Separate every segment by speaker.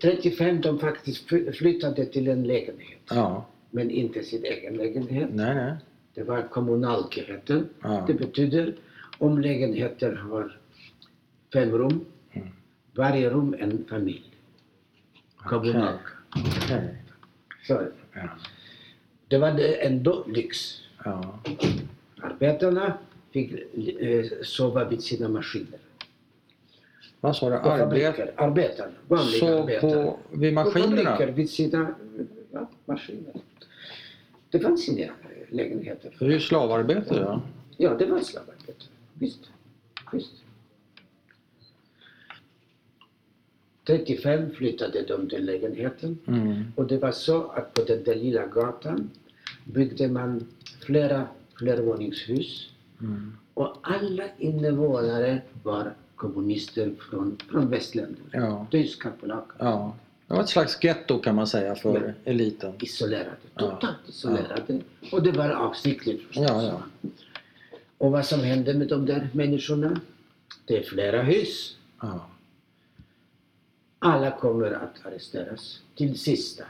Speaker 1: 35 de faktiskt fly- flyttade till en lägenhet,
Speaker 2: Ja.
Speaker 1: men inte sin egen lägenhet.
Speaker 2: Nej, nej.
Speaker 1: Det var kommunalgrätten.
Speaker 2: Ja.
Speaker 1: Det betyder om lägenheter har fem rum,
Speaker 2: Mm.
Speaker 1: varje rum en familj. Kommunal.
Speaker 2: Okej.
Speaker 1: Så
Speaker 2: Ja.
Speaker 1: det var det ändå lyx.
Speaker 2: Ja.
Speaker 1: Arbetarna fick eh, sova vid sina maskiner.
Speaker 2: Vad sa du?
Speaker 1: På
Speaker 2: Arbet?
Speaker 1: fabriker, arbetarna, vanliga
Speaker 2: Så
Speaker 1: arbetare.
Speaker 2: på,
Speaker 1: På
Speaker 2: vid maskinerna?
Speaker 1: fabriker vid sina ja, maskiner. Det fanns inga lägenheter.
Speaker 2: Det är ju slavarbete, ja.
Speaker 1: Ja, det var slavarbete. Visst. Visst. 35 flyttade de till lägenheten
Speaker 2: Mm.
Speaker 1: och det var så att på den där lilla gatan byggde man flera flervåningshus
Speaker 2: Mm.
Speaker 1: och alla invånare var kommunister från, från västländerna.
Speaker 2: Ja.
Speaker 1: Tyskar, polacker.
Speaker 2: ja. Det var ett slags getto kan man säga för eliten.
Speaker 1: Isolerade.
Speaker 2: Ja.
Speaker 1: Totalt isolerade. Och det var avsiktligt förstås.
Speaker 2: Ja, ja.
Speaker 1: Och vad som hände med de där människorna? Det är flera hus.
Speaker 2: Ja.
Speaker 1: Alla kommer att arresteras till sista.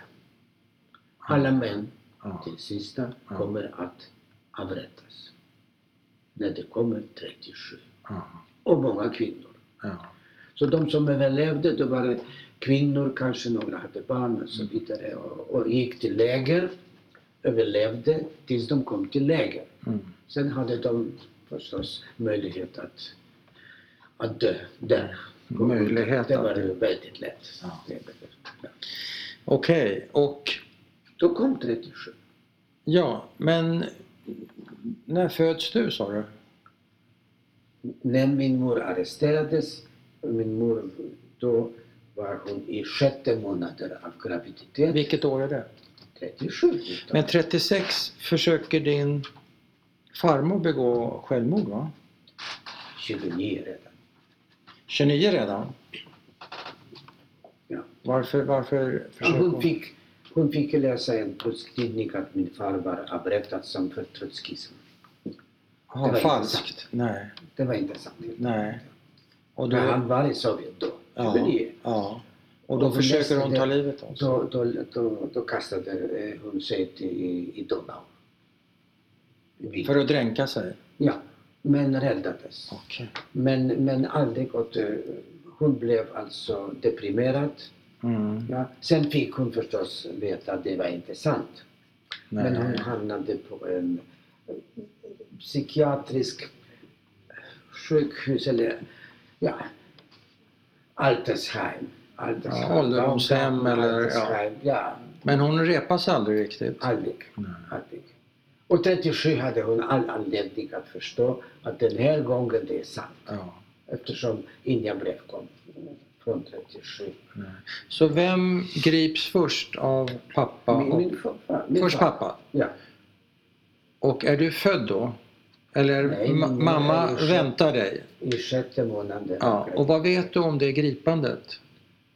Speaker 1: Alla män
Speaker 2: Ja.
Speaker 1: till sista
Speaker 2: Ja.
Speaker 1: kommer att avrättas. När det kommer 37.
Speaker 2: Ja.
Speaker 1: Och många kvinnor.
Speaker 2: Ja.
Speaker 1: Så de som överlevde, det var det kvinnor, kanske några hade barn och så
Speaker 2: Mm.
Speaker 1: vidare. Och, och gick till läger, överlevde tills de kom till läger.
Speaker 2: Mm.
Speaker 1: Sen hade de förstås möjlighet att, att dö där.
Speaker 2: Möjlighet
Speaker 1: Det
Speaker 2: att
Speaker 1: var
Speaker 2: dö.
Speaker 1: ju väldigt lätt.
Speaker 2: Ja.
Speaker 1: Det var det. Ja.
Speaker 2: Okej, och
Speaker 1: Då kom 37.
Speaker 2: ja, men när föds du sa du?
Speaker 1: När min mor arresterades, min mor då var hon i sjätte månaden av graviditet.
Speaker 2: Vilket år är det?
Speaker 1: 37.
Speaker 2: Men 36 försöker din farmor begå självmord va?
Speaker 1: 29 redan.
Speaker 2: 29 redan?
Speaker 1: Ja.
Speaker 2: Varför, varför
Speaker 1: Ja,
Speaker 2: försöker
Speaker 1: hon,
Speaker 2: hon?
Speaker 1: fick, hon fick läsa en tidning att min far var avrättad som för trotskism.
Speaker 2: Aha,
Speaker 1: Det var
Speaker 2: falskt? Nej,
Speaker 1: Det var inte sant.
Speaker 2: nej. Och
Speaker 1: Men han
Speaker 2: då,
Speaker 1: var i Sovjet då.
Speaker 2: ja,
Speaker 1: 29.
Speaker 2: ja. och
Speaker 1: Och
Speaker 2: då
Speaker 1: vi
Speaker 2: försöker
Speaker 1: läste
Speaker 2: hon
Speaker 1: det.
Speaker 2: ta livet av sig?
Speaker 1: Då, då, då, då kastade eh, hon sig till, i, i Donau. I
Speaker 2: För att dränka sig?
Speaker 1: Ja, men räddades.
Speaker 2: Okej.
Speaker 1: Men, men aldrig åt... eh, Hon blev alltså deprimerad.
Speaker 2: Mm,
Speaker 1: Ja. Sen fick hon förstås veta att det var inte sant. Men hon
Speaker 2: nej.
Speaker 1: hamnade på en eh, psykiatrisk eh, sjukhus eller ja, Altersheim. Altersheim.
Speaker 2: Ja, ålderdomshem eller- ja.
Speaker 1: Altersheim, ja.
Speaker 2: Men hon repas aldrig riktigt?
Speaker 1: Aldrig.
Speaker 2: Nej.
Speaker 1: aldrig. Och 37 hade hon all anledning att förstå att den här gången det är sant.
Speaker 2: Ja.
Speaker 1: Eftersom inga brev kom från 37.
Speaker 2: Så vem grips först av pappa?
Speaker 1: Min,
Speaker 2: och,
Speaker 1: min farfar. Min
Speaker 2: först
Speaker 1: far-
Speaker 2: pappa.
Speaker 1: Ja.
Speaker 2: Och är du född då? Eller
Speaker 1: Nej,
Speaker 2: ma-
Speaker 1: nej,
Speaker 2: mamma
Speaker 1: jag är född.
Speaker 2: väntar dig?
Speaker 1: I sjätte månaden.
Speaker 2: Ja. Och vad vet du om det gripandet?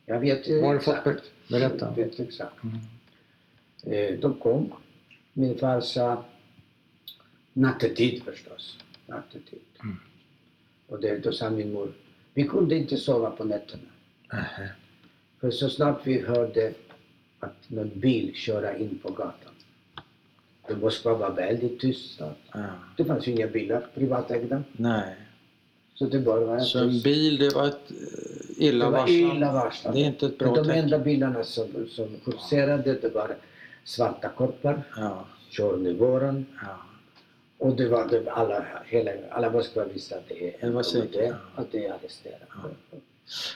Speaker 1: Jag vet
Speaker 2: Vad
Speaker 1: ju
Speaker 2: har du fått
Speaker 1: exakt.
Speaker 2: ber- berätta?
Speaker 1: Jag vet exakt.
Speaker 2: Mm.
Speaker 1: Eh, De kom. Min farsa nattetid förstås. Nattetid.
Speaker 2: Mm.
Speaker 1: Och det, då sa min mor, vi kunde inte sova på nätterna.
Speaker 2: Nähä.
Speaker 1: För så snart vi hörde att någon bil köra in på gatan. För Moskva var väldigt tyst snart.
Speaker 2: Ja.
Speaker 1: Det fanns ju inga bilar, privatägda.
Speaker 2: Nej.
Speaker 1: Så det bara var
Speaker 2: Så en
Speaker 1: tyst.
Speaker 2: bil, det var ett eh,
Speaker 1: Det var illa
Speaker 2: illavarslande...
Speaker 1: varslande.
Speaker 2: Det är inte ett bra
Speaker 1: Men de
Speaker 2: tecken.
Speaker 1: enda bilarna som, som kurserade det var svarta korpar,
Speaker 2: Ja.
Speaker 1: Tjorny Voran
Speaker 2: ja.
Speaker 1: och det var det, alla, hela, alla Moskva visste att det är
Speaker 2: Det var säkert,
Speaker 1: det,
Speaker 2: ja.
Speaker 1: att det är arresterat.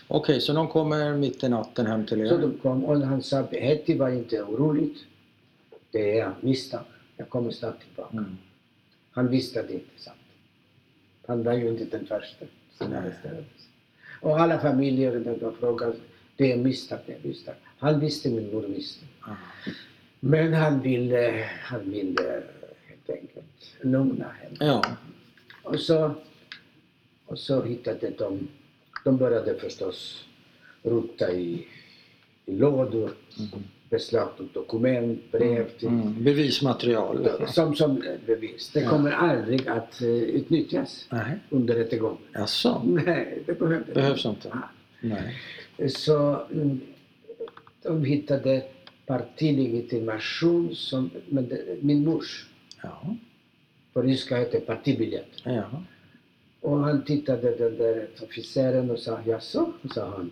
Speaker 2: Okej, så de kommer mitt i natten hem till
Speaker 1: Så
Speaker 2: er?
Speaker 1: de kom och han sa Hetti var inte oroligt. Det är misstag. Jag kommer snart tillbaka.
Speaker 2: Mm.
Speaker 1: Han visste att det inte är sant. Han var ju inte den första som
Speaker 2: Nej.
Speaker 1: arresterades. Och alla familjer de- de frågade, det är misstag, det är misstag. Han visste, min mor visste.
Speaker 2: Ja.
Speaker 1: Men han ville, han ville helt enkelt lugna henne.
Speaker 2: ja.
Speaker 1: Och så, och så hittade de, de började förstås rota i, i lådor, beslagtog dokument, brev till,
Speaker 2: Mm. Bevismaterial?
Speaker 1: som, som bevis. Det
Speaker 2: Ja.
Speaker 1: kommer aldrig att eh, utnyttjas
Speaker 2: Nej.
Speaker 1: under rättegången.
Speaker 2: Jaså?
Speaker 1: Nej, det behövde
Speaker 2: Behövs inte?
Speaker 1: Ah.
Speaker 2: Nej.
Speaker 1: Så mm, De hittade partilegitimation som men det- min mors.
Speaker 2: Ja.
Speaker 1: På ryska heter partibiljett.
Speaker 2: Ja.
Speaker 1: Och han tittade den där officeren och sa jaså, sa han.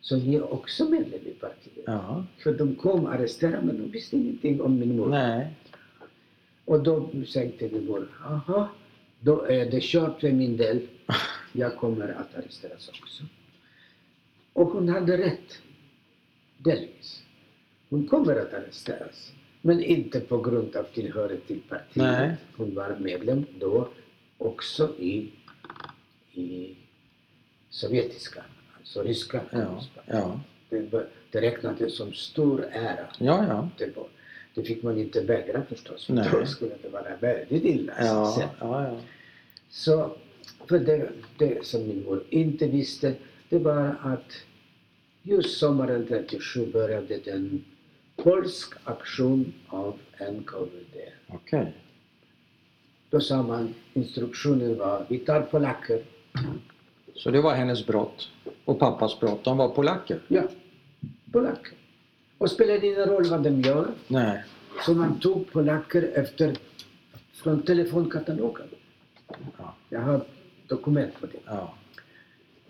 Speaker 1: Så ni är också medlem i partiet?
Speaker 2: Ja.
Speaker 1: För de kom arresterade men de visste ingenting om min mor.
Speaker 2: Nej.
Speaker 1: Och då tänkte min mor, aha, då är det kört för min del. Jag kommer att arresteras också. Och hon hade rätt. Delvis. Hon kommer att arresteras. Men inte på grund av tillhörighet till partiet.
Speaker 2: Nej.
Speaker 1: Hon var medlem då också i, i sovjetiska, alltså ryska
Speaker 2: Ja.
Speaker 1: kommunistpartiet.
Speaker 2: Ja.
Speaker 1: Det, var- det räknades som stor ära
Speaker 2: Ja, ja.
Speaker 1: det var. Det fick man inte vägra förstås, för
Speaker 2: Nej.
Speaker 1: då skulle det vara väldigt illa.
Speaker 2: Ja,
Speaker 1: sen.
Speaker 2: ja, ja.
Speaker 1: Så, för det, det som min mor inte visste, det var att just sommaren 37 började den polsk aktion av NKVD.
Speaker 2: Okej.
Speaker 1: Då sa man, instruktionen var, vi tar polacker.
Speaker 2: Så det var hennes brott och pappas brott. De var polacker?
Speaker 1: Ja, polacker. Och spelade ingen roll vad de gör,
Speaker 2: Nej.
Speaker 1: så man tog polacker efter, från telefonkatalogen.
Speaker 2: Ja.
Speaker 1: Jag har dokument på det.
Speaker 2: Ja.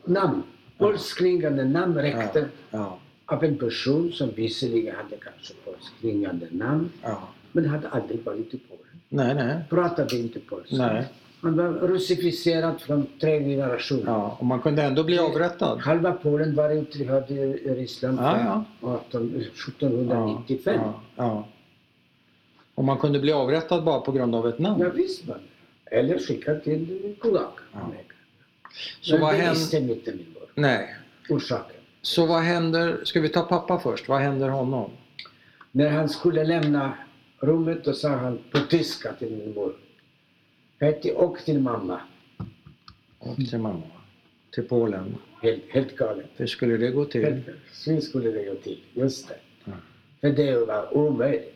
Speaker 1: namn. Polskklingande namn räckte
Speaker 2: Ja. Ja.
Speaker 1: av en person som visserligen hade kanske polskklingande namn,
Speaker 2: ja.
Speaker 1: men hade aldrig varit i Polen.
Speaker 2: Nej, nej.
Speaker 1: Pratade inte polska.
Speaker 2: Nej.
Speaker 1: Han var russificerad från tre generationer.
Speaker 2: Ja. Och man kunde ändå bli avrättad?
Speaker 1: Halva Polen var utrymd i i Ryssland
Speaker 2: Ja, ja.
Speaker 1: 18,
Speaker 2: Ja,
Speaker 1: 1795. Ja,
Speaker 2: ja, ja. Och man kunde bli avrättad bara på grund av ett namn?
Speaker 1: visst man. Eller skickad till Kulak.
Speaker 2: Ja. Så
Speaker 1: Men
Speaker 2: vad
Speaker 1: det
Speaker 2: hän-
Speaker 1: visste inte min mor.
Speaker 2: Nej.
Speaker 1: Orsaken.
Speaker 2: Så vad händer, ska vi ta pappa först, vad händer honom?
Speaker 1: När han skulle lämna rummet då sa han på tyska till min mor. Hej och till mamma.
Speaker 2: Och till mamma? Till Polen?
Speaker 1: Helt, helt galet.
Speaker 2: Hur skulle det gå till?
Speaker 1: Helt, så skulle det gå till. Just det.
Speaker 2: Mm.
Speaker 1: För det var omöjligt.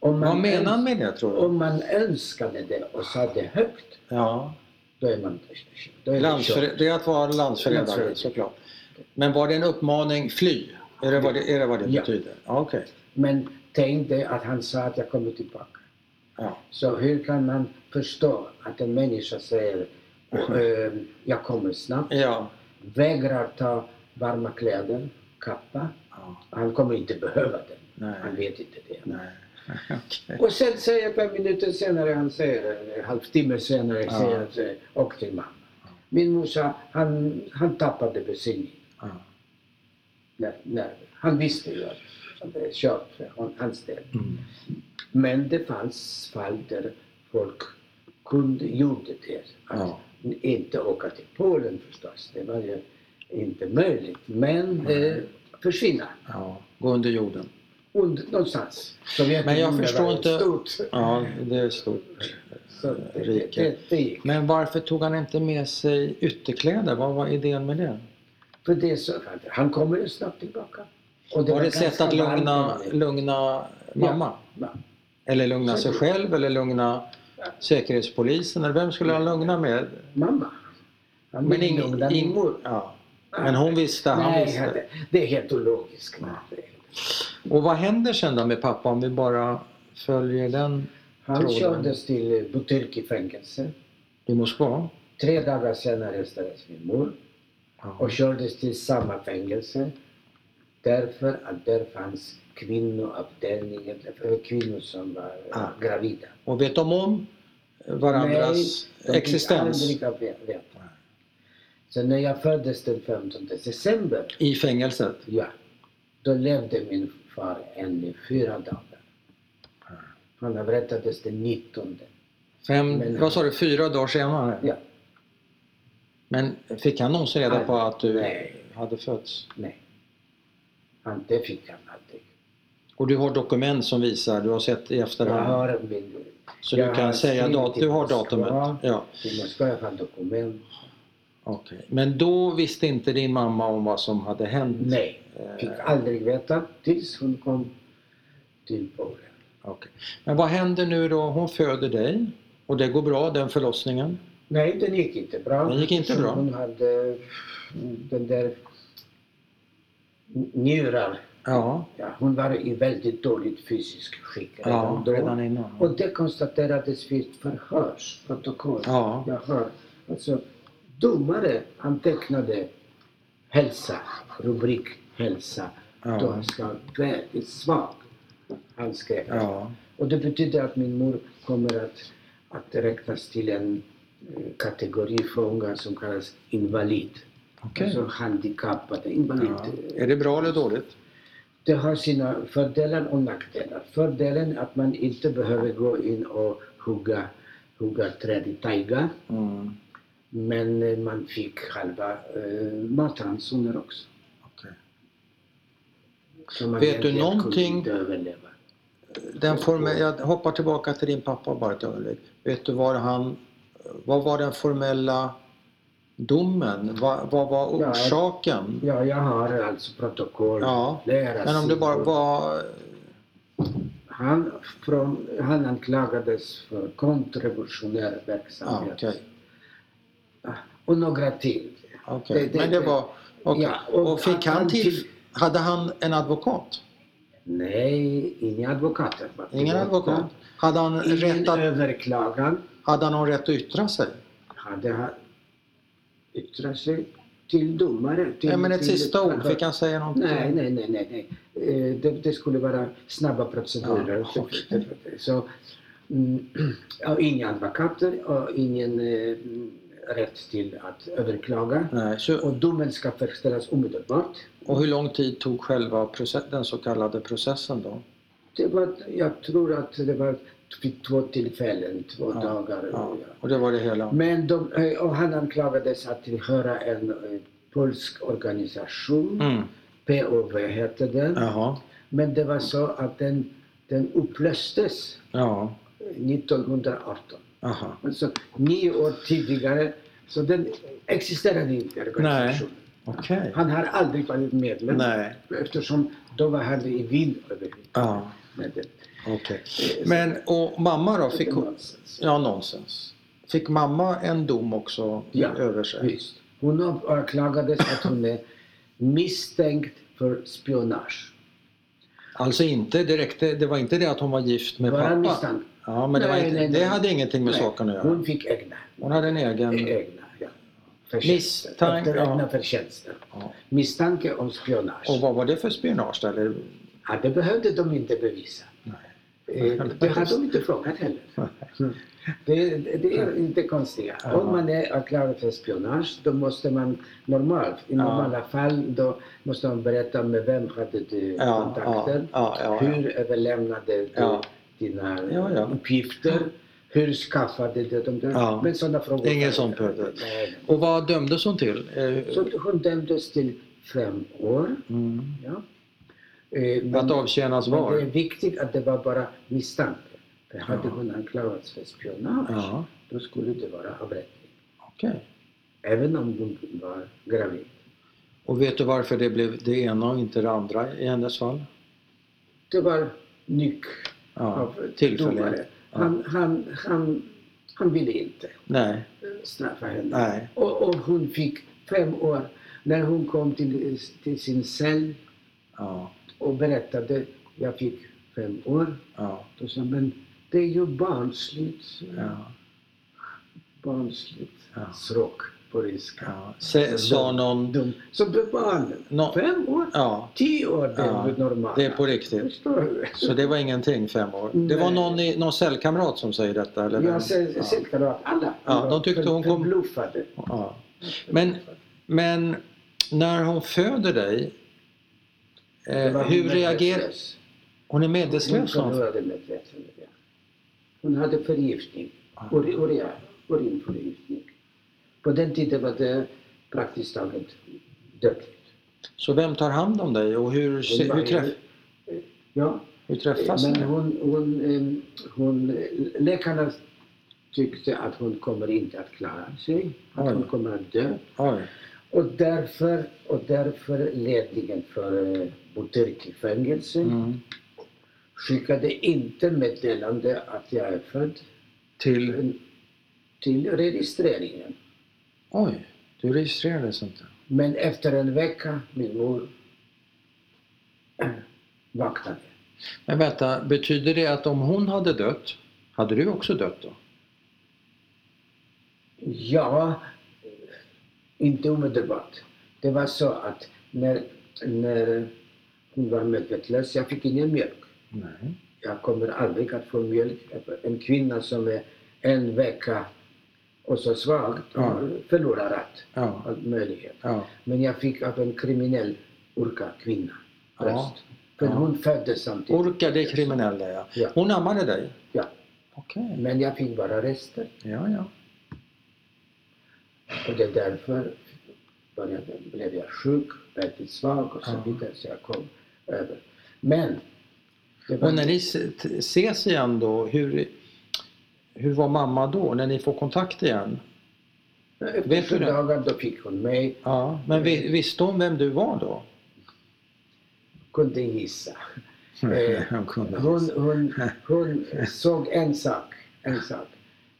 Speaker 1: Om
Speaker 2: Vad menar han
Speaker 1: öns-
Speaker 2: med det tror du?
Speaker 1: Om man önskade det och sa det högt,
Speaker 2: Ja,
Speaker 1: då är man då är det
Speaker 2: landsför-
Speaker 1: kört.
Speaker 2: det är att vara landsförrädare
Speaker 1: Landsförrädare.
Speaker 2: såklart. Men var det en uppmaning, fly? Är det vad det, är det, vad det
Speaker 1: Ja.
Speaker 2: betyder? Ja, Okej.
Speaker 1: Men tänk dig att han sa att jag kommer tillbaka.
Speaker 2: Ja.
Speaker 1: Så hur kan man förstå att en människa
Speaker 2: Mm.
Speaker 1: säger eh, jag kommer snabbt
Speaker 2: Ja.
Speaker 1: vägrar ta varma kläder, kappa.
Speaker 2: ja.
Speaker 1: Han kommer inte behöva den. Han
Speaker 2: Nej.
Speaker 1: vet inte det.
Speaker 2: Nej. Okej.
Speaker 1: Och sen säger ett par minuter senare, han säger, en halvtimme senare,
Speaker 2: Ja.
Speaker 1: säger han säger, åk till mamma. Min morsa, han, han tappade besinningen.
Speaker 2: Ja.
Speaker 1: När, när, han visste ju att det var kört för hon- hans del.
Speaker 2: Mm.
Speaker 1: Men det fanns fall där folk kunde, gjorde det. Att
Speaker 2: Ja.
Speaker 1: Inte åka till Polen förstås, det var ju inte möjligt. Men
Speaker 2: Nej.
Speaker 1: eh, försvinna.
Speaker 2: ja. Gå under jorden.
Speaker 1: Und, någonstans. Sovjetunionen
Speaker 2: Men jag
Speaker 1: var
Speaker 2: förstår
Speaker 1: ju
Speaker 2: inte-
Speaker 1: Stort.
Speaker 2: Ja, det är stort.
Speaker 1: Så det, det,
Speaker 2: Rike.
Speaker 1: det, det gick.
Speaker 2: Men varför tog han inte med sig ytterkläder? Vad var idén med det?
Speaker 1: För det så, han kommer ju snabbt tillbaka. Och
Speaker 2: var det ett sätt
Speaker 1: ganska
Speaker 2: att lugna,
Speaker 1: varmt.
Speaker 2: lugna mamma?
Speaker 1: Ja.
Speaker 2: Eller lugna sig
Speaker 1: Säkert.
Speaker 2: själv eller lugna Säkerhetspolisen? Eller vem skulle han lugna med?
Speaker 1: Mamma. Han
Speaker 2: Men
Speaker 1: men
Speaker 2: ing-
Speaker 1: ingen,
Speaker 2: ing-
Speaker 1: mor.
Speaker 2: ja. Men hon visste, han
Speaker 1: Nej,
Speaker 2: visste.
Speaker 1: det- det är helt ologiskt. Det-
Speaker 2: Och vad händer sen då med pappa om vi bara följer den
Speaker 1: Han
Speaker 2: Tråden.
Speaker 1: kördes till Butyrki-fängelse.
Speaker 2: i Moskva?
Speaker 1: Tre dagar senare arresterades min mor
Speaker 2: Ja.
Speaker 1: och kördes till samma fängelse. Därför att där fanns kvinnoavdelningen, eh, kvinnor som var eh,
Speaker 2: Ah.
Speaker 1: gravida.
Speaker 2: Och vet de om varandras
Speaker 1: de fick
Speaker 2: existens?
Speaker 1: aldrig att ve- veta.
Speaker 2: Nej.
Speaker 1: Så när jag föddes den 15 december,
Speaker 2: I fängelset?
Speaker 1: ja, då levde min far ännu fyra dagar.
Speaker 2: Ja.
Speaker 1: Han avrättades den 19.
Speaker 2: Fem,
Speaker 1: Men-
Speaker 2: vad sa du, fyra dagar senare?
Speaker 1: Ja,
Speaker 2: Men fick han någonsin reda
Speaker 1: Nej.
Speaker 2: på att du
Speaker 1: Nej.
Speaker 2: hade fötts?
Speaker 1: nej. Han, det fick han aldrig.
Speaker 2: Och du har dokument som visar, du har sett i
Speaker 1: Jag
Speaker 2: efterhand.
Speaker 1: har min...
Speaker 2: så
Speaker 1: jag
Speaker 2: du
Speaker 1: har
Speaker 2: kan säga
Speaker 1: skrivit
Speaker 2: dat-
Speaker 1: till
Speaker 2: du har
Speaker 1: Moskva.
Speaker 2: datumet? Ja.
Speaker 1: I Moskva jag har dokument.
Speaker 2: Okej. Men då visste inte din mamma om vad som hade hänt?
Speaker 1: Nej,
Speaker 2: Eh,
Speaker 1: fick aldrig veta tills hon kom till Polen.
Speaker 2: okej. Men vad händer nu då? Hon föder dig och det går bra, den förlossningen?
Speaker 1: Nej, den gick inte bra. mm,
Speaker 2: Den gick inte bra.
Speaker 1: Hon hade den där njurar
Speaker 2: Ja,
Speaker 1: Ja, hon var i väldigt dåligt fysiskt skick
Speaker 2: ja
Speaker 1: redan då.
Speaker 2: redan innan.
Speaker 1: Och det konstaterades vid ett förhörsprotokoll.
Speaker 2: Ja,
Speaker 1: Jag hör, alltså, domare antecknade hälsa, rubrik hälsa. Då
Speaker 2: ja,
Speaker 1: han skrev väldigt svag. Han skrev.
Speaker 2: ja,
Speaker 1: Och det betyder att min mor kommer att, att räknas till en eh, kategori fångar som kallas invalid.
Speaker 2: okej.
Speaker 1: Alltså handikappade, invalid.
Speaker 2: Ja. Är det bra eller dåligt?
Speaker 1: Det har sina fördelar och nackdelar. Fördelen är att man inte behöver gå in och hugga, hugga träd i taiga.
Speaker 2: Mm.
Speaker 1: Men eh, man fick halva eh, matransoner också.
Speaker 2: okej.
Speaker 1: Så man
Speaker 2: Vet du
Speaker 1: egentligen kunde
Speaker 2: någonting-
Speaker 1: inte överleva.
Speaker 2: Den formella, jag hoppar tillbaka till din pappa bara ett ögonblick. Vet du var han, vad var den formella domen? Vad, vad var
Speaker 1: Ja.
Speaker 2: orsaken?
Speaker 1: Ja, jag har alltså protokoll.
Speaker 2: Ja,
Speaker 1: Flera
Speaker 2: men om det bara
Speaker 1: sidor.
Speaker 2: var...
Speaker 1: Han, från, han anklagades för kontrrevolutionär
Speaker 2: Ja,
Speaker 1: verksamhet.
Speaker 2: Ah, okej.
Speaker 1: Och några till.
Speaker 2: okej.
Speaker 1: Det- det-
Speaker 2: Men det var... okej.
Speaker 1: Ja, och
Speaker 2: och fick
Speaker 1: han-
Speaker 2: han till... Hade han en advokat?
Speaker 1: Nej, inga advokater.
Speaker 2: Ingen advokat? Hade han, rätt
Speaker 1: Ingen eh,
Speaker 2: att,
Speaker 1: överklagan.
Speaker 2: hade han någon rätt att yttra sig?
Speaker 1: Hade han yttrat sig till domare. Till,
Speaker 2: Ja, men ett
Speaker 1: till-
Speaker 2: sista ord, fick han säga någonting?
Speaker 1: Nej, nej, nej, nej. nej. Eh, Det, det skulle vara snabba procedurer.
Speaker 2: Ja, okej.
Speaker 1: Så, mm, ja, inga advokater och ingen eh, mm, rätt till att överklaga.
Speaker 2: Nej, så,
Speaker 1: Och domen ska verkställas omedelbart.
Speaker 2: och hur lång tid tog själva process, den så kallade processen då?
Speaker 1: Det var, jag tror att det var vid två tillfällen, två dagar.
Speaker 2: Ja, och det var det hela?
Speaker 1: Men de, eh, och han anklagades att tillhöra en eh, polsk organisation,
Speaker 2: Mm.
Speaker 1: POV hette den.
Speaker 2: Jaha,
Speaker 1: Men det var så att den, den upplöstes
Speaker 2: ja,
Speaker 1: 1918.
Speaker 2: aha.
Speaker 1: Alltså nio år tidigare, så den existerade inte organisationen.
Speaker 2: Okej.
Speaker 1: Han har aldrig varit medlem
Speaker 2: Nej,
Speaker 1: eftersom då var han i Wien överhuvudtaget.
Speaker 2: ja,
Speaker 1: med det.
Speaker 2: okej. Men, och mamma då? Fick hon,
Speaker 1: Nonsens.
Speaker 2: ja, nonsens. Fick mamma en dom också
Speaker 1: Ja,
Speaker 2: över sig?
Speaker 1: Visst. Hon anklagades att hon är misstänkt för spionage.
Speaker 2: Alltså inte direkt, det var inte det att hon var gift med
Speaker 1: Bara
Speaker 2: pappa?
Speaker 1: misstanke.
Speaker 2: Ja, men det, var
Speaker 1: Nej,
Speaker 2: inte,
Speaker 1: nej, nej.
Speaker 2: det hade ingenting med
Speaker 1: Nej,
Speaker 2: saken att göra.
Speaker 1: Hon fick egna.
Speaker 2: Hon hade en egen...
Speaker 1: egna ja. Förtjänster.
Speaker 2: Misstanke,
Speaker 1: Efter
Speaker 2: ja.
Speaker 1: egna förtjänster.
Speaker 2: Ja.
Speaker 1: Misstanke om spionage.
Speaker 2: Och vad var det för spionage? Eller?
Speaker 1: Ja, det behövde de inte bevisa. Eh, Det har de inte frågat heller. Det, det det är inte konstigt.
Speaker 2: Ja.
Speaker 1: Om man är anklagad för spionage, då måste man normalt, i
Speaker 2: Ja.
Speaker 1: normala fall, då måste man berätta med vem hade du
Speaker 2: Ja, ja,
Speaker 1: kontakter,
Speaker 2: ja, ja, ja.
Speaker 1: hur överlämnade du
Speaker 2: Ja.
Speaker 1: dina
Speaker 2: Ja, ja.
Speaker 1: uppgifter, hur skaffade du dem?
Speaker 2: Ja.
Speaker 1: Men sådana frågor.
Speaker 2: Ingen sån prövning.
Speaker 1: Nej.
Speaker 2: Och vad dömdes hon till? Eh,
Speaker 1: Så hon dömdes till fem år.
Speaker 2: Mm.
Speaker 1: Ja. Eh, men-
Speaker 2: Att avtjänas
Speaker 1: men det är
Speaker 2: var?
Speaker 1: viktigt att det var bara misstanke. För hade
Speaker 2: Ja.
Speaker 1: hon anklagats för spionage,
Speaker 2: Ja,
Speaker 1: då skulle det vara avrättning.
Speaker 2: okej.
Speaker 1: Även om hon var gravid.
Speaker 2: Och vet du varför det blev det ena och inte det andra i hennes fall?
Speaker 1: Det var nyck
Speaker 2: Ja,
Speaker 1: av
Speaker 2: tillfällighet.
Speaker 1: domare. Han, han, han, han ville inte
Speaker 2: Nej,
Speaker 1: eh, straffa henne.
Speaker 2: nej.
Speaker 1: Och, och hon fick fem år. När hon kom till, till sin cell
Speaker 2: Ja,
Speaker 1: och berättade, jag fick fem år.
Speaker 2: ja,
Speaker 1: Då sa han, men det är ju barnsligt.
Speaker 2: ja.
Speaker 1: Barnsligt.
Speaker 2: Ja.
Speaker 1: Språk på ryska.
Speaker 2: ja. Se, sa någon...
Speaker 1: dum. Så blev barnen.
Speaker 2: Nå,
Speaker 1: Fem år?
Speaker 2: ja,
Speaker 1: Tio år, det
Speaker 2: Ja,
Speaker 1: är det normala.
Speaker 2: det är på riktigt.
Speaker 1: Förstår du?
Speaker 2: Så det var ingenting fem år. Det var
Speaker 1: Nej.
Speaker 2: någon, i, någon cellkamrat som säger detta? Eller vem?
Speaker 1: Jag ser
Speaker 2: Ja.
Speaker 1: sällskap alla.
Speaker 2: Ja, de tyckte hon kom-
Speaker 1: Förbluffade.
Speaker 2: Ja. Men, eh, men när hon föder dig,
Speaker 1: Det var
Speaker 2: eh,
Speaker 1: hon
Speaker 2: hur reagerar...
Speaker 1: medvetslös.
Speaker 2: Hon är
Speaker 1: Hon
Speaker 2: medvetslös? sa hon.
Speaker 1: förlorade medvetandet. ja. Hon hade förgiftning. Uri- urea- Urinförgiftning. På den tiden var det praktiskt taget dödligt.
Speaker 2: Så vem tar hand om dig och hur,
Speaker 1: Hon
Speaker 2: se-
Speaker 1: var
Speaker 2: hur, träff,
Speaker 1: ju- Ja,
Speaker 2: hur träffas
Speaker 1: Men
Speaker 2: ni?
Speaker 1: hon, hon, eh, hon, läkarna tyckte att hon kommer inte att klara sig, att
Speaker 2: Oj.
Speaker 1: hon kommer att dö.
Speaker 2: Oj.
Speaker 1: Och därför, och därför ledningen för eh, Butyrki-fängelse
Speaker 2: Mm.
Speaker 1: skickade inte meddelande att jag är född
Speaker 2: Till...
Speaker 1: till registreringen.
Speaker 2: Oj, du registrerades inte.
Speaker 1: Men efter en vecka, min mor eh, vaknade.
Speaker 2: Men vänta, betyder det att om hon hade dött, hade du också dött då?
Speaker 1: Ja, inte omedelbart. Det var så att när, när hon var medvetslös, jag fick ingen mjölk.
Speaker 2: Nej.
Speaker 1: Jag kommer aldrig att få mjölk. En kvinna som är en vecka och så svag
Speaker 2: Ja.
Speaker 1: förlorar allt,
Speaker 2: Ja.
Speaker 1: allt möjlighet.
Speaker 2: ja.
Speaker 1: Men jag fick av en kriminell urka kvinna
Speaker 2: Ja.
Speaker 1: bröst. För
Speaker 2: Ja.
Speaker 1: hon föddes samtidigt.
Speaker 2: Orka, det är kriminella ja.
Speaker 1: Ja.
Speaker 2: Hon ammade dig?
Speaker 1: Ja.
Speaker 2: Okej.
Speaker 1: Men jag fick bara rester.
Speaker 2: Ja, ja.
Speaker 1: Och det är därför började, blev jag sjuk, väldigt svag och så
Speaker 2: Ja.
Speaker 1: vidare. Så jag kom över. Men... Det var,
Speaker 2: Och när ni s- t- ses igen då, hur, hur var mamma då? När ni får kontakt igen?
Speaker 1: efter
Speaker 2: vet du
Speaker 1: sju
Speaker 2: det?
Speaker 1: dagar då fick hon mig.
Speaker 2: Ja, men vi- visste hon vem du var då?
Speaker 1: Kunde gissa. Eh,
Speaker 2: Hon kunde
Speaker 1: Hon, hon, hon såg en sak, en sak.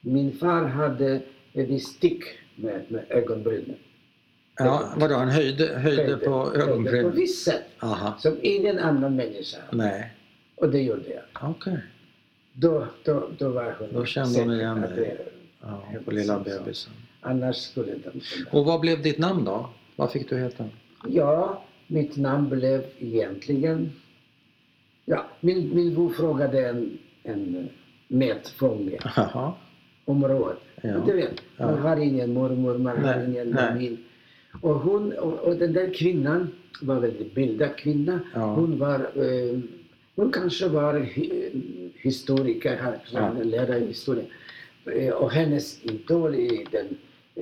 Speaker 1: Min far hade ett stick med, med ögonbrynen.
Speaker 2: Ja, vadå, han höjde, höjde på
Speaker 1: Höjde På
Speaker 2: ögonbrynen?
Speaker 1: visst sätt.
Speaker 2: Aha,
Speaker 1: Som ingen annan människa.
Speaker 2: nej,
Speaker 1: Och det gjorde jag.
Speaker 2: okej.
Speaker 1: Då, då, då var hon
Speaker 2: Då kände
Speaker 1: säker
Speaker 2: hon igen
Speaker 1: att
Speaker 2: dig.
Speaker 1: det-
Speaker 2: Ja, på lilla bebisen.
Speaker 1: Annars skulle de kunna.
Speaker 2: Och vad blev ditt namn då? Vad fick du heta?
Speaker 1: Ja, mitt namn blev egentligen... Ja, min, min bror frågade en, en eh, medfånge
Speaker 2: Jaha,
Speaker 1: om råd.
Speaker 2: Ja.
Speaker 1: Du vet, man
Speaker 2: Ja.
Speaker 1: har ingen mormor, man har
Speaker 2: Nej,
Speaker 1: ingen
Speaker 2: nej.
Speaker 1: mamin. Och, hon, och, och den där kvinnan var en väldigt bildad kvinna.
Speaker 2: Ja.
Speaker 1: Hon var... Eh, hon kanske var hi, historiker, här,
Speaker 2: Ja.
Speaker 1: lärare i historia. Eh, Och hennes idol i den